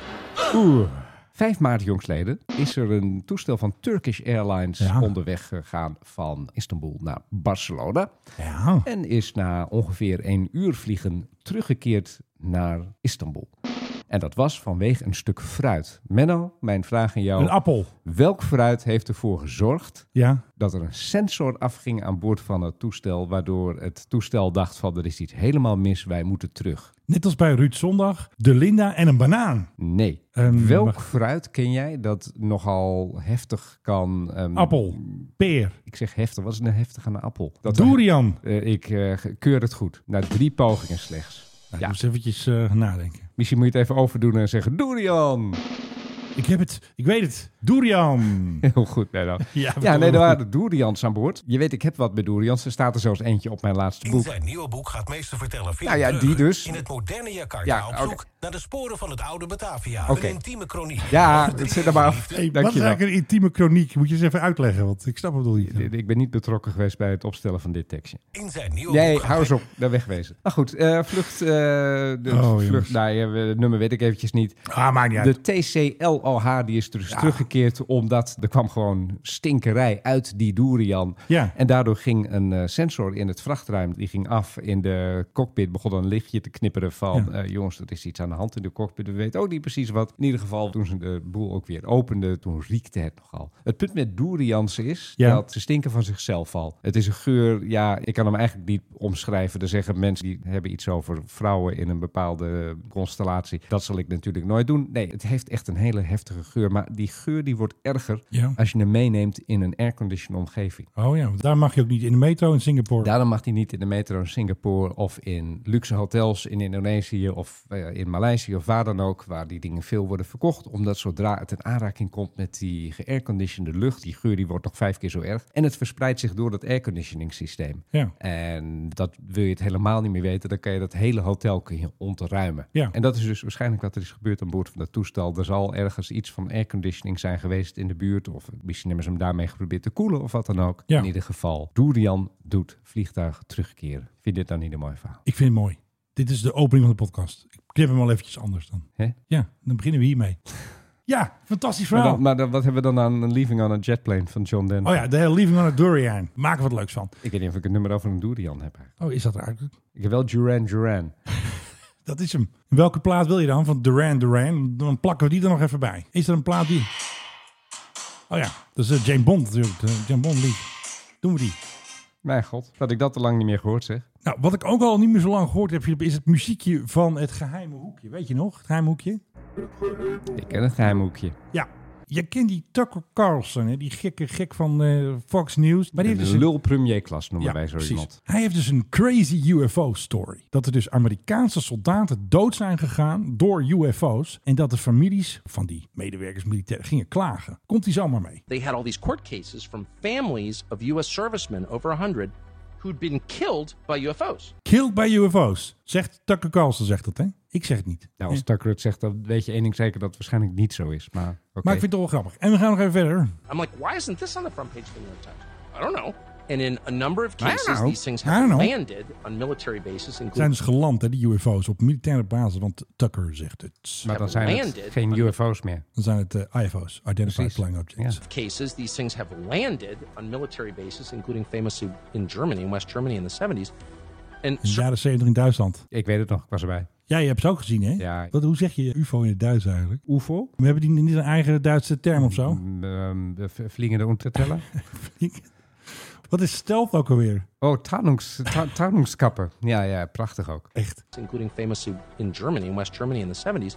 Speaker 8: Oeh. 5 maart, jongsleden, is er een toestel van Turkish Airlines
Speaker 5: Ja.
Speaker 8: onderweg gegaan van Istanbul naar Barcelona.
Speaker 5: Ja.
Speaker 8: En is na ongeveer één uur vliegen teruggekeerd naar Istanbul. En dat was vanwege een stuk fruit. Menno, mijn vraag aan jou.
Speaker 5: Een appel.
Speaker 8: Welk fruit heeft ervoor gezorgd
Speaker 5: Ja.
Speaker 8: dat er een sensor afging aan boord van het toestel, waardoor het toestel dacht van er is iets helemaal mis, wij moeten terug.
Speaker 5: Net als bij Ruud Zondag, de Linda en een banaan.
Speaker 8: Nee.
Speaker 5: Ehm,
Speaker 8: Welk
Speaker 5: wacht.
Speaker 8: fruit ken jij dat nogal heftig kan... ehm,
Speaker 5: Appel, peer.
Speaker 8: Ik zeg heftig, wat is een heftig aan een appel? Dat
Speaker 5: Durian.
Speaker 8: Eh, ik eh, keur het goed. Na drie pogingen slechts.
Speaker 5: ja. Eens eventjes eh, nadenken.
Speaker 8: Misschien moet je het even overdoen en zeggen Durian. (laughs)
Speaker 5: Ik heb het, ik weet het. Durian.
Speaker 8: Heel goed, nee, dan.
Speaker 5: (laughs) Ja,
Speaker 8: Ja,
Speaker 5: bedoel-
Speaker 8: nee, er waren Durians aan boord. Je weet, ik heb wat met Durians. Er staat er zelfs eentje op mijn laatste
Speaker 15: In
Speaker 8: boek.
Speaker 15: zijn nieuwe boek gaat meester vertellen via
Speaker 8: Nou ja,
Speaker 15: Brugge
Speaker 8: die dus.
Speaker 15: in het moderne Jakarta
Speaker 8: Ja,
Speaker 15: op
Speaker 8: oké.
Speaker 15: zoek naar de sporen van het oude Batavia.
Speaker 8: Oké.
Speaker 15: Een intieme kroniek.
Speaker 8: Ja, dat zit er maar af.
Speaker 5: Hey, wat is
Speaker 8: Dankjewel.
Speaker 5: eigenlijk een intieme kroniek? Moet je eens even uitleggen, want ik snap het nog niet.
Speaker 8: Ik ben niet betrokken geweest bij het opstellen van dit tekstje.
Speaker 15: In zijn nieuwe
Speaker 8: Nee,
Speaker 15: boek gaat
Speaker 8: hou eens op. Daar wegwezen. Oh, Nou goed, eh, vlucht... eh, de
Speaker 5: Oh, jongens.
Speaker 8: vlucht nou, ja, het nummer weet ik eventjes niet.
Speaker 5: Ah, maakt niet uit.
Speaker 8: De TCLOH die is dus teruggekeerd omdat er kwam gewoon stinkerij uit die Durian.
Speaker 5: Ja.
Speaker 8: En daardoor ging een eh, sensor in het vrachtruim, die ging af in de cockpit. Begon een lichtje te knipperen van,
Speaker 5: Ja.
Speaker 8: eh, jongens, er is iets aan de hand in de cockpit. We weten ook niet precies wat. In ieder geval, toen ze de boel ook weer openden, toen riekte het nogal. Het punt met Durians is
Speaker 5: Ja.
Speaker 8: dat ze stinken van zichzelf al. Het is een geur, ja, ik kan hem eigenlijk niet omschrijven. Er zeggen mensen die hebben iets over vrouwen in een bepaalde constellatie. Dat zal ik natuurlijk nooit doen. Nee, het heeft echt een hele heftige geur. Maar die geur die wordt erger
Speaker 5: Ja.
Speaker 8: als je hem meeneemt in een airconditioned omgeving.
Speaker 5: Oh ja, want daar mag je ook niet in de metro in Singapore.
Speaker 8: Daarom mag die niet in de metro in Singapore of in luxe hotels in Indonesië of eh, in Maleisië of waar dan ook, waar die dingen veel worden verkocht. Omdat zodra het in aanraking komt met die geairconditionde lucht, die geur die wordt nog vijf keer zo erg. En het verspreidt zich door dat airconditioning systeem.
Speaker 5: Ja.
Speaker 8: En dat wil je het helemaal niet meer weten, dan kan je dat hele hotel kun je ontruimen.
Speaker 5: Ja.
Speaker 8: En dat is dus waarschijnlijk wat er is gebeurd aan boord van dat toestel. Er zal ergens iets van airconditioning zijn geweest in de buurt. Of misschien hebben ze hem daarmee geprobeerd te koelen of wat dan ook.
Speaker 5: Ja.
Speaker 8: In ieder geval, Durian doet vliegtuig terugkeren. Vind je dit dan niet een mooi verhaal?
Speaker 5: Ik vind het mooi. Dit is de opening van de podcast. Ik knip hem wel eventjes anders dan.
Speaker 8: Hè?
Speaker 5: Ja, dan beginnen we hiermee. Ja, fantastisch
Speaker 8: Maar,
Speaker 5: verhaal.
Speaker 8: dan- maar dan- wat hebben we dan aan een Leaving on a Jetplane van John Denver?
Speaker 5: Oh ja, de hele Leaving on a Durian. Maak er wat leuks van.
Speaker 8: Ik weet niet of ik een nummer over een Durian heb. eigenlijk.
Speaker 5: Oh, is dat er eigenlijk?
Speaker 8: Ik heb wel Duran Duran.
Speaker 5: Dat is hem. Welke plaat wil je dan van Duran Duran? Dan plakken we die er nog even bij. Is er een plaat die... Oh ja, dat is eh, Jane Bond natuurlijk. De Jane Bond lied. Doen we die.
Speaker 8: Mijn god, dat ik dat al lang niet meer gehoord zeg.
Speaker 5: Nou, wat ik ook al niet meer zo lang gehoord heb, Filip, is het muziekje van het geheime hoekje. Weet je nog? Het geheime hoekje?
Speaker 8: Ik ken het geheime hoekje.
Speaker 5: Ja. Je kent die Tucker Carlson, hè? die gekke gek van eh, Fox News. Maar die
Speaker 8: Een
Speaker 5: heeft dus
Speaker 8: lul premier klas noemen
Speaker 5: Ja,
Speaker 8: wij zo
Speaker 5: precies.
Speaker 8: iemand.
Speaker 5: Hij heeft dus een crazy UFO-story. Dat er dus Amerikaanse soldaten dood zijn gegaan door UFO's. En dat de families van die medewerkers militairen gingen klagen. Komt hij zomaar mee?
Speaker 16: They had all these court cases from families of U.S. servicemen, over 100, who'd been killed by UFOs.
Speaker 5: Killed by UFO's. Zegt Tucker Carlson, zegt dat hè? Ik zeg het niet.
Speaker 8: Nou, als Tucker het zegt, dan weet je één ding zeker dat het waarschijnlijk niet zo is. Maar, oké.
Speaker 5: Maar ik vind het wel grappig. En we gaan nog even verder.
Speaker 16: I'm like, why isn't this on the front page of the New York Times? I don't know. And in a number of
Speaker 5: I don't
Speaker 16: cases,
Speaker 5: know.
Speaker 16: these things
Speaker 5: I don't
Speaker 16: have
Speaker 5: know.
Speaker 16: landed on military bases,
Speaker 5: Ze zijn
Speaker 16: including
Speaker 5: dus geland, hè, die UFO's, op militaire basis. Want Tucker zegt het.
Speaker 8: Maar dan zijn het geen UFO's meer.
Speaker 5: Dan zijn het eh, IFO's, Identified
Speaker 8: Precies.
Speaker 5: Flying Objects.
Speaker 16: cases, these things have landed on military bases, including famously in Germany, in West Germany in the 70s. And
Speaker 5: In de jaren 70 in Duitsland.
Speaker 8: Ik weet het nog, ik was erbij.
Speaker 5: Ja, je hebt ze ook gezien, hè?
Speaker 8: Ja.
Speaker 5: Wat, hoe zeg je UFO in het Duits eigenlijk?
Speaker 8: UFO?
Speaker 5: We hebben die niet een eigen Duitse term of zo.
Speaker 8: Mm, ehm, de v- Vliegende unterteller.
Speaker 5: (laughs) Wat is stealth ook alweer?
Speaker 8: Oh, Tarnungs, ta- Tarnungskapper. Ja, ja, prachtig ook.
Speaker 5: Echt.
Speaker 16: including famously in Germany, in West Germany in the 70s.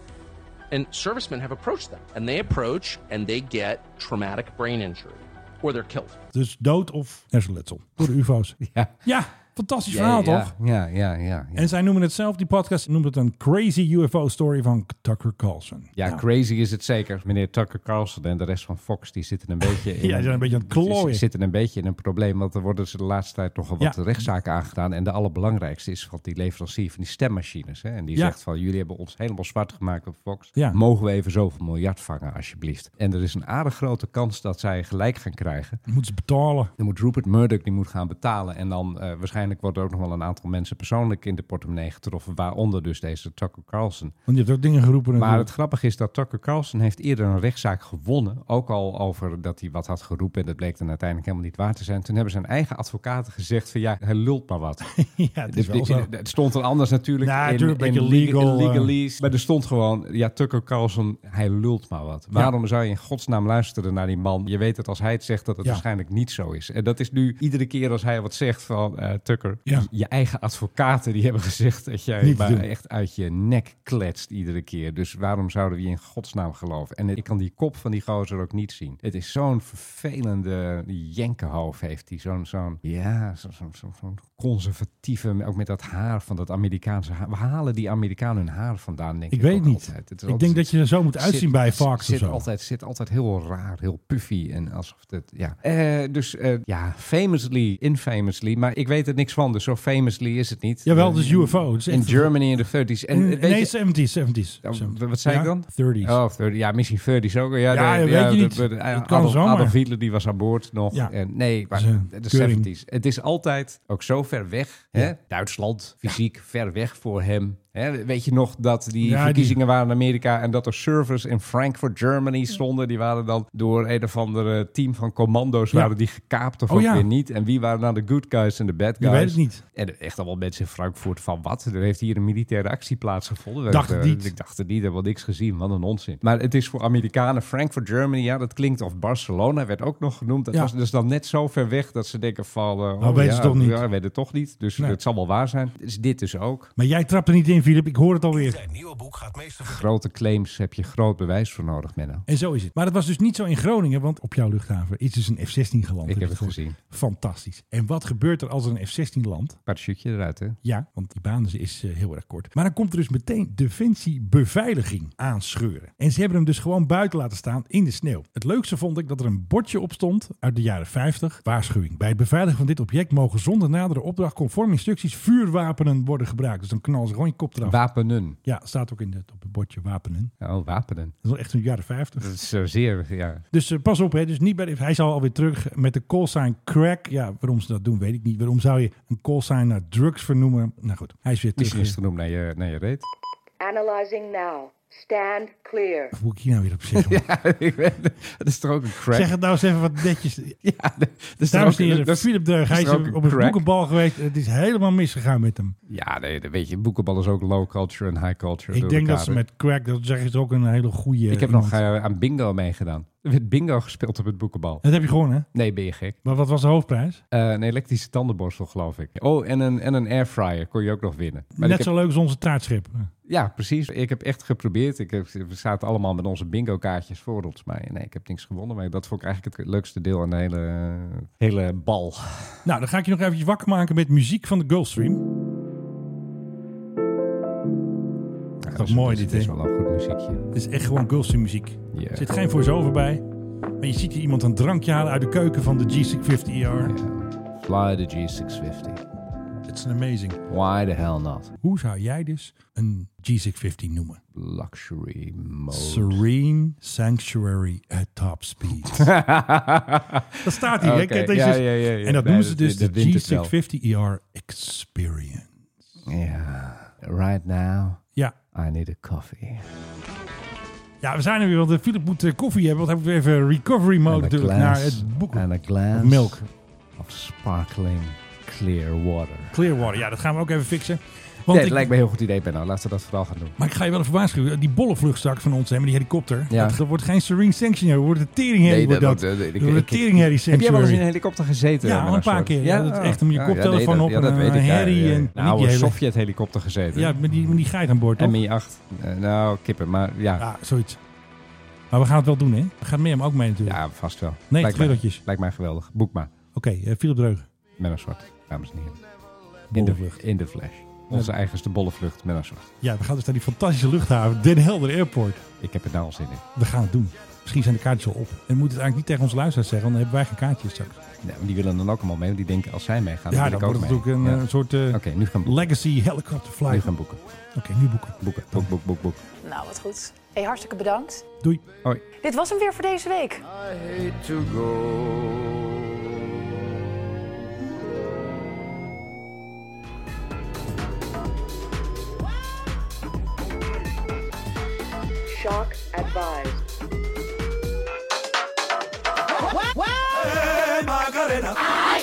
Speaker 16: And servicemen have approached them, and they approach and they get traumatic brain injury, or they're killed.
Speaker 5: Dus dood of hersenletsel door de UFO's.
Speaker 8: (laughs) Ja.
Speaker 5: Ja, fantastisch verhaal
Speaker 8: ja,
Speaker 5: toch?
Speaker 8: Ja, ja, ja. Ja,
Speaker 5: En zij noemen het zelf, die podcast noemt het een crazy UFO story van Tucker Carlson. Nou,
Speaker 8: ja crazy is het zeker. Meneer Tucker Carlson en de rest van Fox, die zitten een beetje
Speaker 5: (laughs)
Speaker 8: in...
Speaker 5: Ja, die zijn een beetje aan het klooien.
Speaker 8: die zitten een beetje in een probleem, want er worden ze de laatste tijd nogal wat
Speaker 5: Ja.
Speaker 8: rechtszaken aangedaan. En de allerbelangrijkste is van die leverancier van die stemmachines. Hè? En die
Speaker 5: Ja.
Speaker 8: zegt van, jullie hebben ons helemaal zwart gemaakt op Fox.
Speaker 5: Ja.
Speaker 8: Mogen we even zoveel miljard vangen, alsjeblieft? En er is een aardig grote kans dat zij gelijk gaan krijgen.
Speaker 5: Moeten ze betalen.
Speaker 8: Dan moet Rupert Murdoch die moet gaan betalen. En dan eh, waarschijnlijk wordt er ook nog wel een aantal mensen persoonlijk in de portemonnee getroffen. Waaronder dus deze Tucker Carlson.
Speaker 5: Want je hebt ook dingen geroepen.
Speaker 8: Maar
Speaker 5: natuurlijk.
Speaker 8: het grappige is dat Tucker Carlson heeft eerder een rechtszaak gewonnen. Ook al over dat hij wat had geroepen. En dat bleek dan uiteindelijk helemaal niet waar te zijn. Toen hebben zijn eigen advocaten gezegd van ja, hij lult maar
Speaker 5: (laughs)
Speaker 8: wat.
Speaker 5: (laughs) ja, het is wel zo.
Speaker 8: Het stond er anders natuurlijk
Speaker 5: Nou,
Speaker 8: in,
Speaker 5: natuurlijk een
Speaker 8: in
Speaker 5: beetje
Speaker 8: legal,
Speaker 5: legal, eh.
Speaker 8: legalese. Maar er stond gewoon, ja, Tucker Carlson, hij lult maar wat. Waarom zou je in godsnaam luisteren naar die man? Je weet dat als hij het zegt, dat het
Speaker 5: Ja.
Speaker 8: waarschijnlijk niet zo is. En dat is nu iedere keer als hij wat zegt van eh, Tucker.
Speaker 5: Ja.
Speaker 8: Je eigen advocaten die hebben gezegd dat jij
Speaker 5: Niet te
Speaker 8: maar
Speaker 5: doen.
Speaker 8: echt uit je nek kletst iedere keer. Dus waarom zouden we je in godsnaam geloven? En ik kan die kop van die gozer ook niet zien. Het is zo'n vervelende jenkenhoofd heeft hij. Zo'n, zo'n, ja, zo- zo- zo- zo'n conservatieve, ook met dat haar van dat Amerikaanse haar. We halen die Amerikanen hun haar vandaan, denk ik.
Speaker 5: Ik weet
Speaker 8: ook
Speaker 5: niet.
Speaker 8: altijd. Het is
Speaker 5: Ik
Speaker 8: altijd-
Speaker 5: denk dat je er zo moet uitzien bij Fox of
Speaker 8: Zit
Speaker 5: zo.
Speaker 8: altijd, zit altijd heel raar, heel puffy en alsof het, ja. Eh, dus eh, ja, famously, infamously, maar ik weet er niks van, dus zo famously is het niet.
Speaker 5: Jawel, dus
Speaker 8: Eh,
Speaker 5: het is UFO. Het is
Speaker 8: in
Speaker 5: echt-
Speaker 8: Germany in de 30s. En,
Speaker 5: En,
Speaker 8: weet
Speaker 5: nee,
Speaker 8: je-
Speaker 5: 70s, 70s.
Speaker 8: Oh, w-
Speaker 5: 70s.
Speaker 8: wat zei
Speaker 5: Ja,
Speaker 8: ik dan?
Speaker 5: 30s.
Speaker 8: Oh, 30, ja, misschien 30s ook. Ja,
Speaker 5: Ja,
Speaker 8: de-
Speaker 5: dat weet je niet.
Speaker 8: de- de-
Speaker 5: Dat kan
Speaker 8: Adolf,
Speaker 5: zomaar.
Speaker 8: Adolf Hitler die was aan boord nog.
Speaker 5: Ja.
Speaker 8: En, nee, maar
Speaker 5: Dat is
Speaker 8: de
Speaker 5: een keuring.
Speaker 8: 70s. Het is altijd ook zo ver weg. Hè? Duitsland, fysiek ver weg voor hem. Hè? Weet je nog dat die
Speaker 5: Ja, die-
Speaker 8: verkiezingen waren in Amerika en dat er servers in Frankfurt, Germany stonden. Die waren dan door een of andere team van commando's
Speaker 5: Ja.
Speaker 8: waren die gekaapt of
Speaker 5: Oh,
Speaker 8: ook
Speaker 5: ja.
Speaker 8: weer niet. En wie waren nou de good guys en de bad
Speaker 5: Je
Speaker 8: guys?
Speaker 5: weet het niet.
Speaker 8: En echt allemaal mensen in Frankfurt van wat? Er heeft hier een militaire actie plaatsgevonden.
Speaker 5: Dacht
Speaker 8: ik, eh,
Speaker 5: niet.
Speaker 8: Ik dacht het niet, er wordt niks gezien. Wat een onzin. Maar het is voor Amerikanen, Frankfurt, Germany, ja, dat klinkt. Of Barcelona werd ook nog genoemd. Dat
Speaker 5: Ja.
Speaker 8: was dus dan net zo ver weg dat ze denken van... eh,
Speaker 5: weten
Speaker 8: ja,
Speaker 5: ze toch niet.
Speaker 8: Ja, we weten het toch niet. Dus
Speaker 5: Nee.
Speaker 8: het zal wel waar zijn. Is dit dus ook.
Speaker 5: Maar jij trapt er niet in, Filip. Ik hoor het alweer.
Speaker 15: Zijn nieuwe boek gaat meester
Speaker 8: Grote claims heb je groot bewijs voor nodig, Menno.
Speaker 5: En zo is het. Maar dat was dus niet zo in Groningen, want op jouw luchthaven is dus een F-16 geland.
Speaker 8: Ik heb
Speaker 5: je
Speaker 8: het gezien.
Speaker 5: Fantastisch. En wat gebeurt er als er een F-16 landt?
Speaker 8: Parachute eruit, hè?
Speaker 5: Ja, want die baan is eh, heel erg kort. Maar dan komt er dus meteen defensiebeveiliging aanscheuren. En ze hebben hem dus gewoon buiten laten staan in de sneeuw. Het leukste vond ik dat er een bordje op stond uit de jaren 50. Waarschuwing. Bij het beveiligen van dit object mogen zonder nadere opdracht conform instructies vuurwapenen worden gebruikt. Dus dan knallen ze gewoon je kop eraf.
Speaker 8: Wapenen.
Speaker 5: ja, staat ook in het, op het bordje wapenen.
Speaker 8: Oh, wapenen.
Speaker 5: Dat is wel echt in de jaren 50.
Speaker 8: Dat is eh, zeer, ja.
Speaker 5: Dus eh, pas op, hè. Dus niet bij de- hij zal alweer terug met de callsign crack. Ja, waarom ze dat doen, weet ik niet. Waarom zou je een callsign naar drugs vernoemen? Nou goed, hij is weer terug.
Speaker 8: Misschien is het genoemd naar je, naar je reet. (laughs)
Speaker 1: Analyzing now. Stand clear.
Speaker 5: Wat moet ik hier nou weer op zeggen?
Speaker 8: (laughs)
Speaker 5: man?
Speaker 8: Ik weet het. Het is toch ook een crack?
Speaker 5: Zeg het nou eens even wat
Speaker 8: (laughs)
Speaker 5: netjes.
Speaker 8: Dus
Speaker 5: Dames en heren, Philip Deug, hij is op een boekenbal geweest. Het is helemaal misgegaan met hem.
Speaker 8: Ja, nee, dat weet je, boekenbal is ook low culture en high culture.
Speaker 5: ik
Speaker 8: door
Speaker 5: denk dat eh,
Speaker 8: elkaar.
Speaker 5: ze met crack, dat zeggen ze ook een hele goede...
Speaker 8: Ik heb nog eh, aan eh, bingo meegedaan. Er werd bingo gespeeld op het boekenbal.
Speaker 5: Dat heb je gewonnen, hè?
Speaker 8: Nee, ben je gek.
Speaker 5: Maar wat was de hoofdprijs?
Speaker 8: Eh, een elektrische tandenborstel, geloof ik. Oh, en een, en een airfryer kon je ook nog winnen. Maar ik
Speaker 5: Net
Speaker 8: heb-
Speaker 5: zo leuk als onze taartschip.
Speaker 8: Ja, precies. Ik heb echt geprobeerd. Ik heb, we zaten allemaal met onze bingo-kaartjes voor ons. Maar nee, ik heb niks gewonnen. Maar dat vond ik eigenlijk het leukste deel aan de hele, eh, hele bal.
Speaker 5: Nou, dan ga ik je nog eventjes wakker maken met muziek van de Gulfstream.
Speaker 8: Ja,
Speaker 5: Dat is mooi dit,
Speaker 8: dit
Speaker 5: hè?
Speaker 8: is wel een goed muziekje.
Speaker 5: Het is echt gewoon Gulfstream muziek.
Speaker 8: Ja.
Speaker 5: Er zit geen voice-over bij. Maar je ziet hier iemand een drankje halen uit de keuken van de G650ER.
Speaker 8: Fly the G650.
Speaker 5: It's an amazing.
Speaker 8: Why the hell not?
Speaker 5: Hoe zou jij dus een G650 noemen?
Speaker 8: Luxury mode.
Speaker 5: Serene Sanctuary at top
Speaker 8: (laughs)
Speaker 5: speed. dat staat hier. hè?
Speaker 8: Oké,
Speaker 5: Kijk, deze
Speaker 8: ja,
Speaker 5: is- dus-
Speaker 8: ja, ja, ja.
Speaker 5: En dat
Speaker 8: Nee,
Speaker 5: noemen ze
Speaker 8: dat-
Speaker 5: dus
Speaker 8: dat
Speaker 5: de
Speaker 8: wint het wel.
Speaker 5: G650ER E Experience.
Speaker 8: (laughs) Ja. Right now,
Speaker 5: Ja.
Speaker 8: I need a coffee.
Speaker 5: Ja, we zijn er weer, want eh, Philip moet eh, koffie hebben. Want hij moet even recovery mode
Speaker 8: And a
Speaker 5: natuurlijk Oh, naar
Speaker 8: glass,
Speaker 5: het boek.
Speaker 8: and a glass
Speaker 5: Of milk.
Speaker 8: of sparkling clear water.
Speaker 5: Clearwater. Ja, dat gaan we ook even fixen.
Speaker 8: nee,
Speaker 5: Want
Speaker 8: het
Speaker 5: ik,
Speaker 8: lijkt me een heel goed idee, Benno. Laten we dat vooral gaan doen.
Speaker 5: Maar ik ga je wel even waarschuwen. Die bolle vlucht straks van ons, hè, met die helikopter.
Speaker 8: Ja.
Speaker 5: Dat, dat wordt geen Serene Sanctuary. Dat wordt een teringherrie.
Speaker 8: Nee,
Speaker 5: wordt
Speaker 8: dat-
Speaker 5: dat
Speaker 8: dat- dat- ik-
Speaker 5: Dat wordt een
Speaker 8: ik- ik-
Speaker 5: teringherrie
Speaker 8: Heb
Speaker 5: Sanctuary.
Speaker 8: jij wel eens in een helikopter gezeten?
Speaker 5: Ja,
Speaker 8: Menno,
Speaker 5: al een paar
Speaker 8: soort?
Speaker 5: keer. Ja, dat is echt met je
Speaker 8: Ja,
Speaker 5: koptelefoon
Speaker 8: nee,
Speaker 5: op
Speaker 8: dat- ja,
Speaker 5: en
Speaker 8: dat weet
Speaker 5: een
Speaker 8: ik, ja,
Speaker 5: herrie
Speaker 8: ja, ja.
Speaker 5: en-
Speaker 8: Een
Speaker 5: en
Speaker 8: oude
Speaker 5: die hele-
Speaker 8: Sovjet-helikopter gezeten.
Speaker 5: Ja, met die, met die geit aan boord, toch?
Speaker 8: Mi-8. Eh, nou, kippen, maar ja.
Speaker 5: Ja, zoiets. Maar we gaan het wel doen, hè? We gaan Mirjam ook mee natuurlijk.
Speaker 8: Ja, vast wel.
Speaker 5: Nee,
Speaker 8: lijkt
Speaker 5: kleurtjes.
Speaker 8: Mij, lijkt mij geweldig. Boek maar.
Speaker 5: Oké, eh, Philip Dreugen.
Speaker 8: Met een zwart, dames en heren. In de, in de flash. Onze eigenste bolle vlucht met een zwart.
Speaker 5: Ja, we gaan dus naar die fantastische luchthaven, Den Helder Airport.
Speaker 8: Ik heb er nou al zin in.
Speaker 5: We gaan het doen. Misschien zijn de kaartjes al op. En moet het eigenlijk niet tegen onze luisteraars zeggen, want dan hebben wij geen kaartjes straks.
Speaker 8: Nou, die willen dan ook allemaal mee. want Die denken, als zij meegaan,
Speaker 5: ja,
Speaker 8: dan
Speaker 5: dan
Speaker 8: wil ik
Speaker 5: wordt het
Speaker 8: ook mee.
Speaker 5: natuurlijk een,
Speaker 8: Ja.
Speaker 5: eh, soort eh,
Speaker 8: Oké, nu gaan boeken.
Speaker 5: legacy helicopter flight.
Speaker 8: Nu gaan boeken.
Speaker 5: Oké, nu boeken.
Speaker 8: Boeken, boek, boek, boek, boek.
Speaker 17: Nou, wat goed. Hey, hartstikke bedankt.
Speaker 5: Doei.
Speaker 8: Hoi.
Speaker 17: Dit was hem weer voor deze week.
Speaker 7: hate to go.
Speaker 1: Shock advised.
Speaker 9: Hey, Macarena.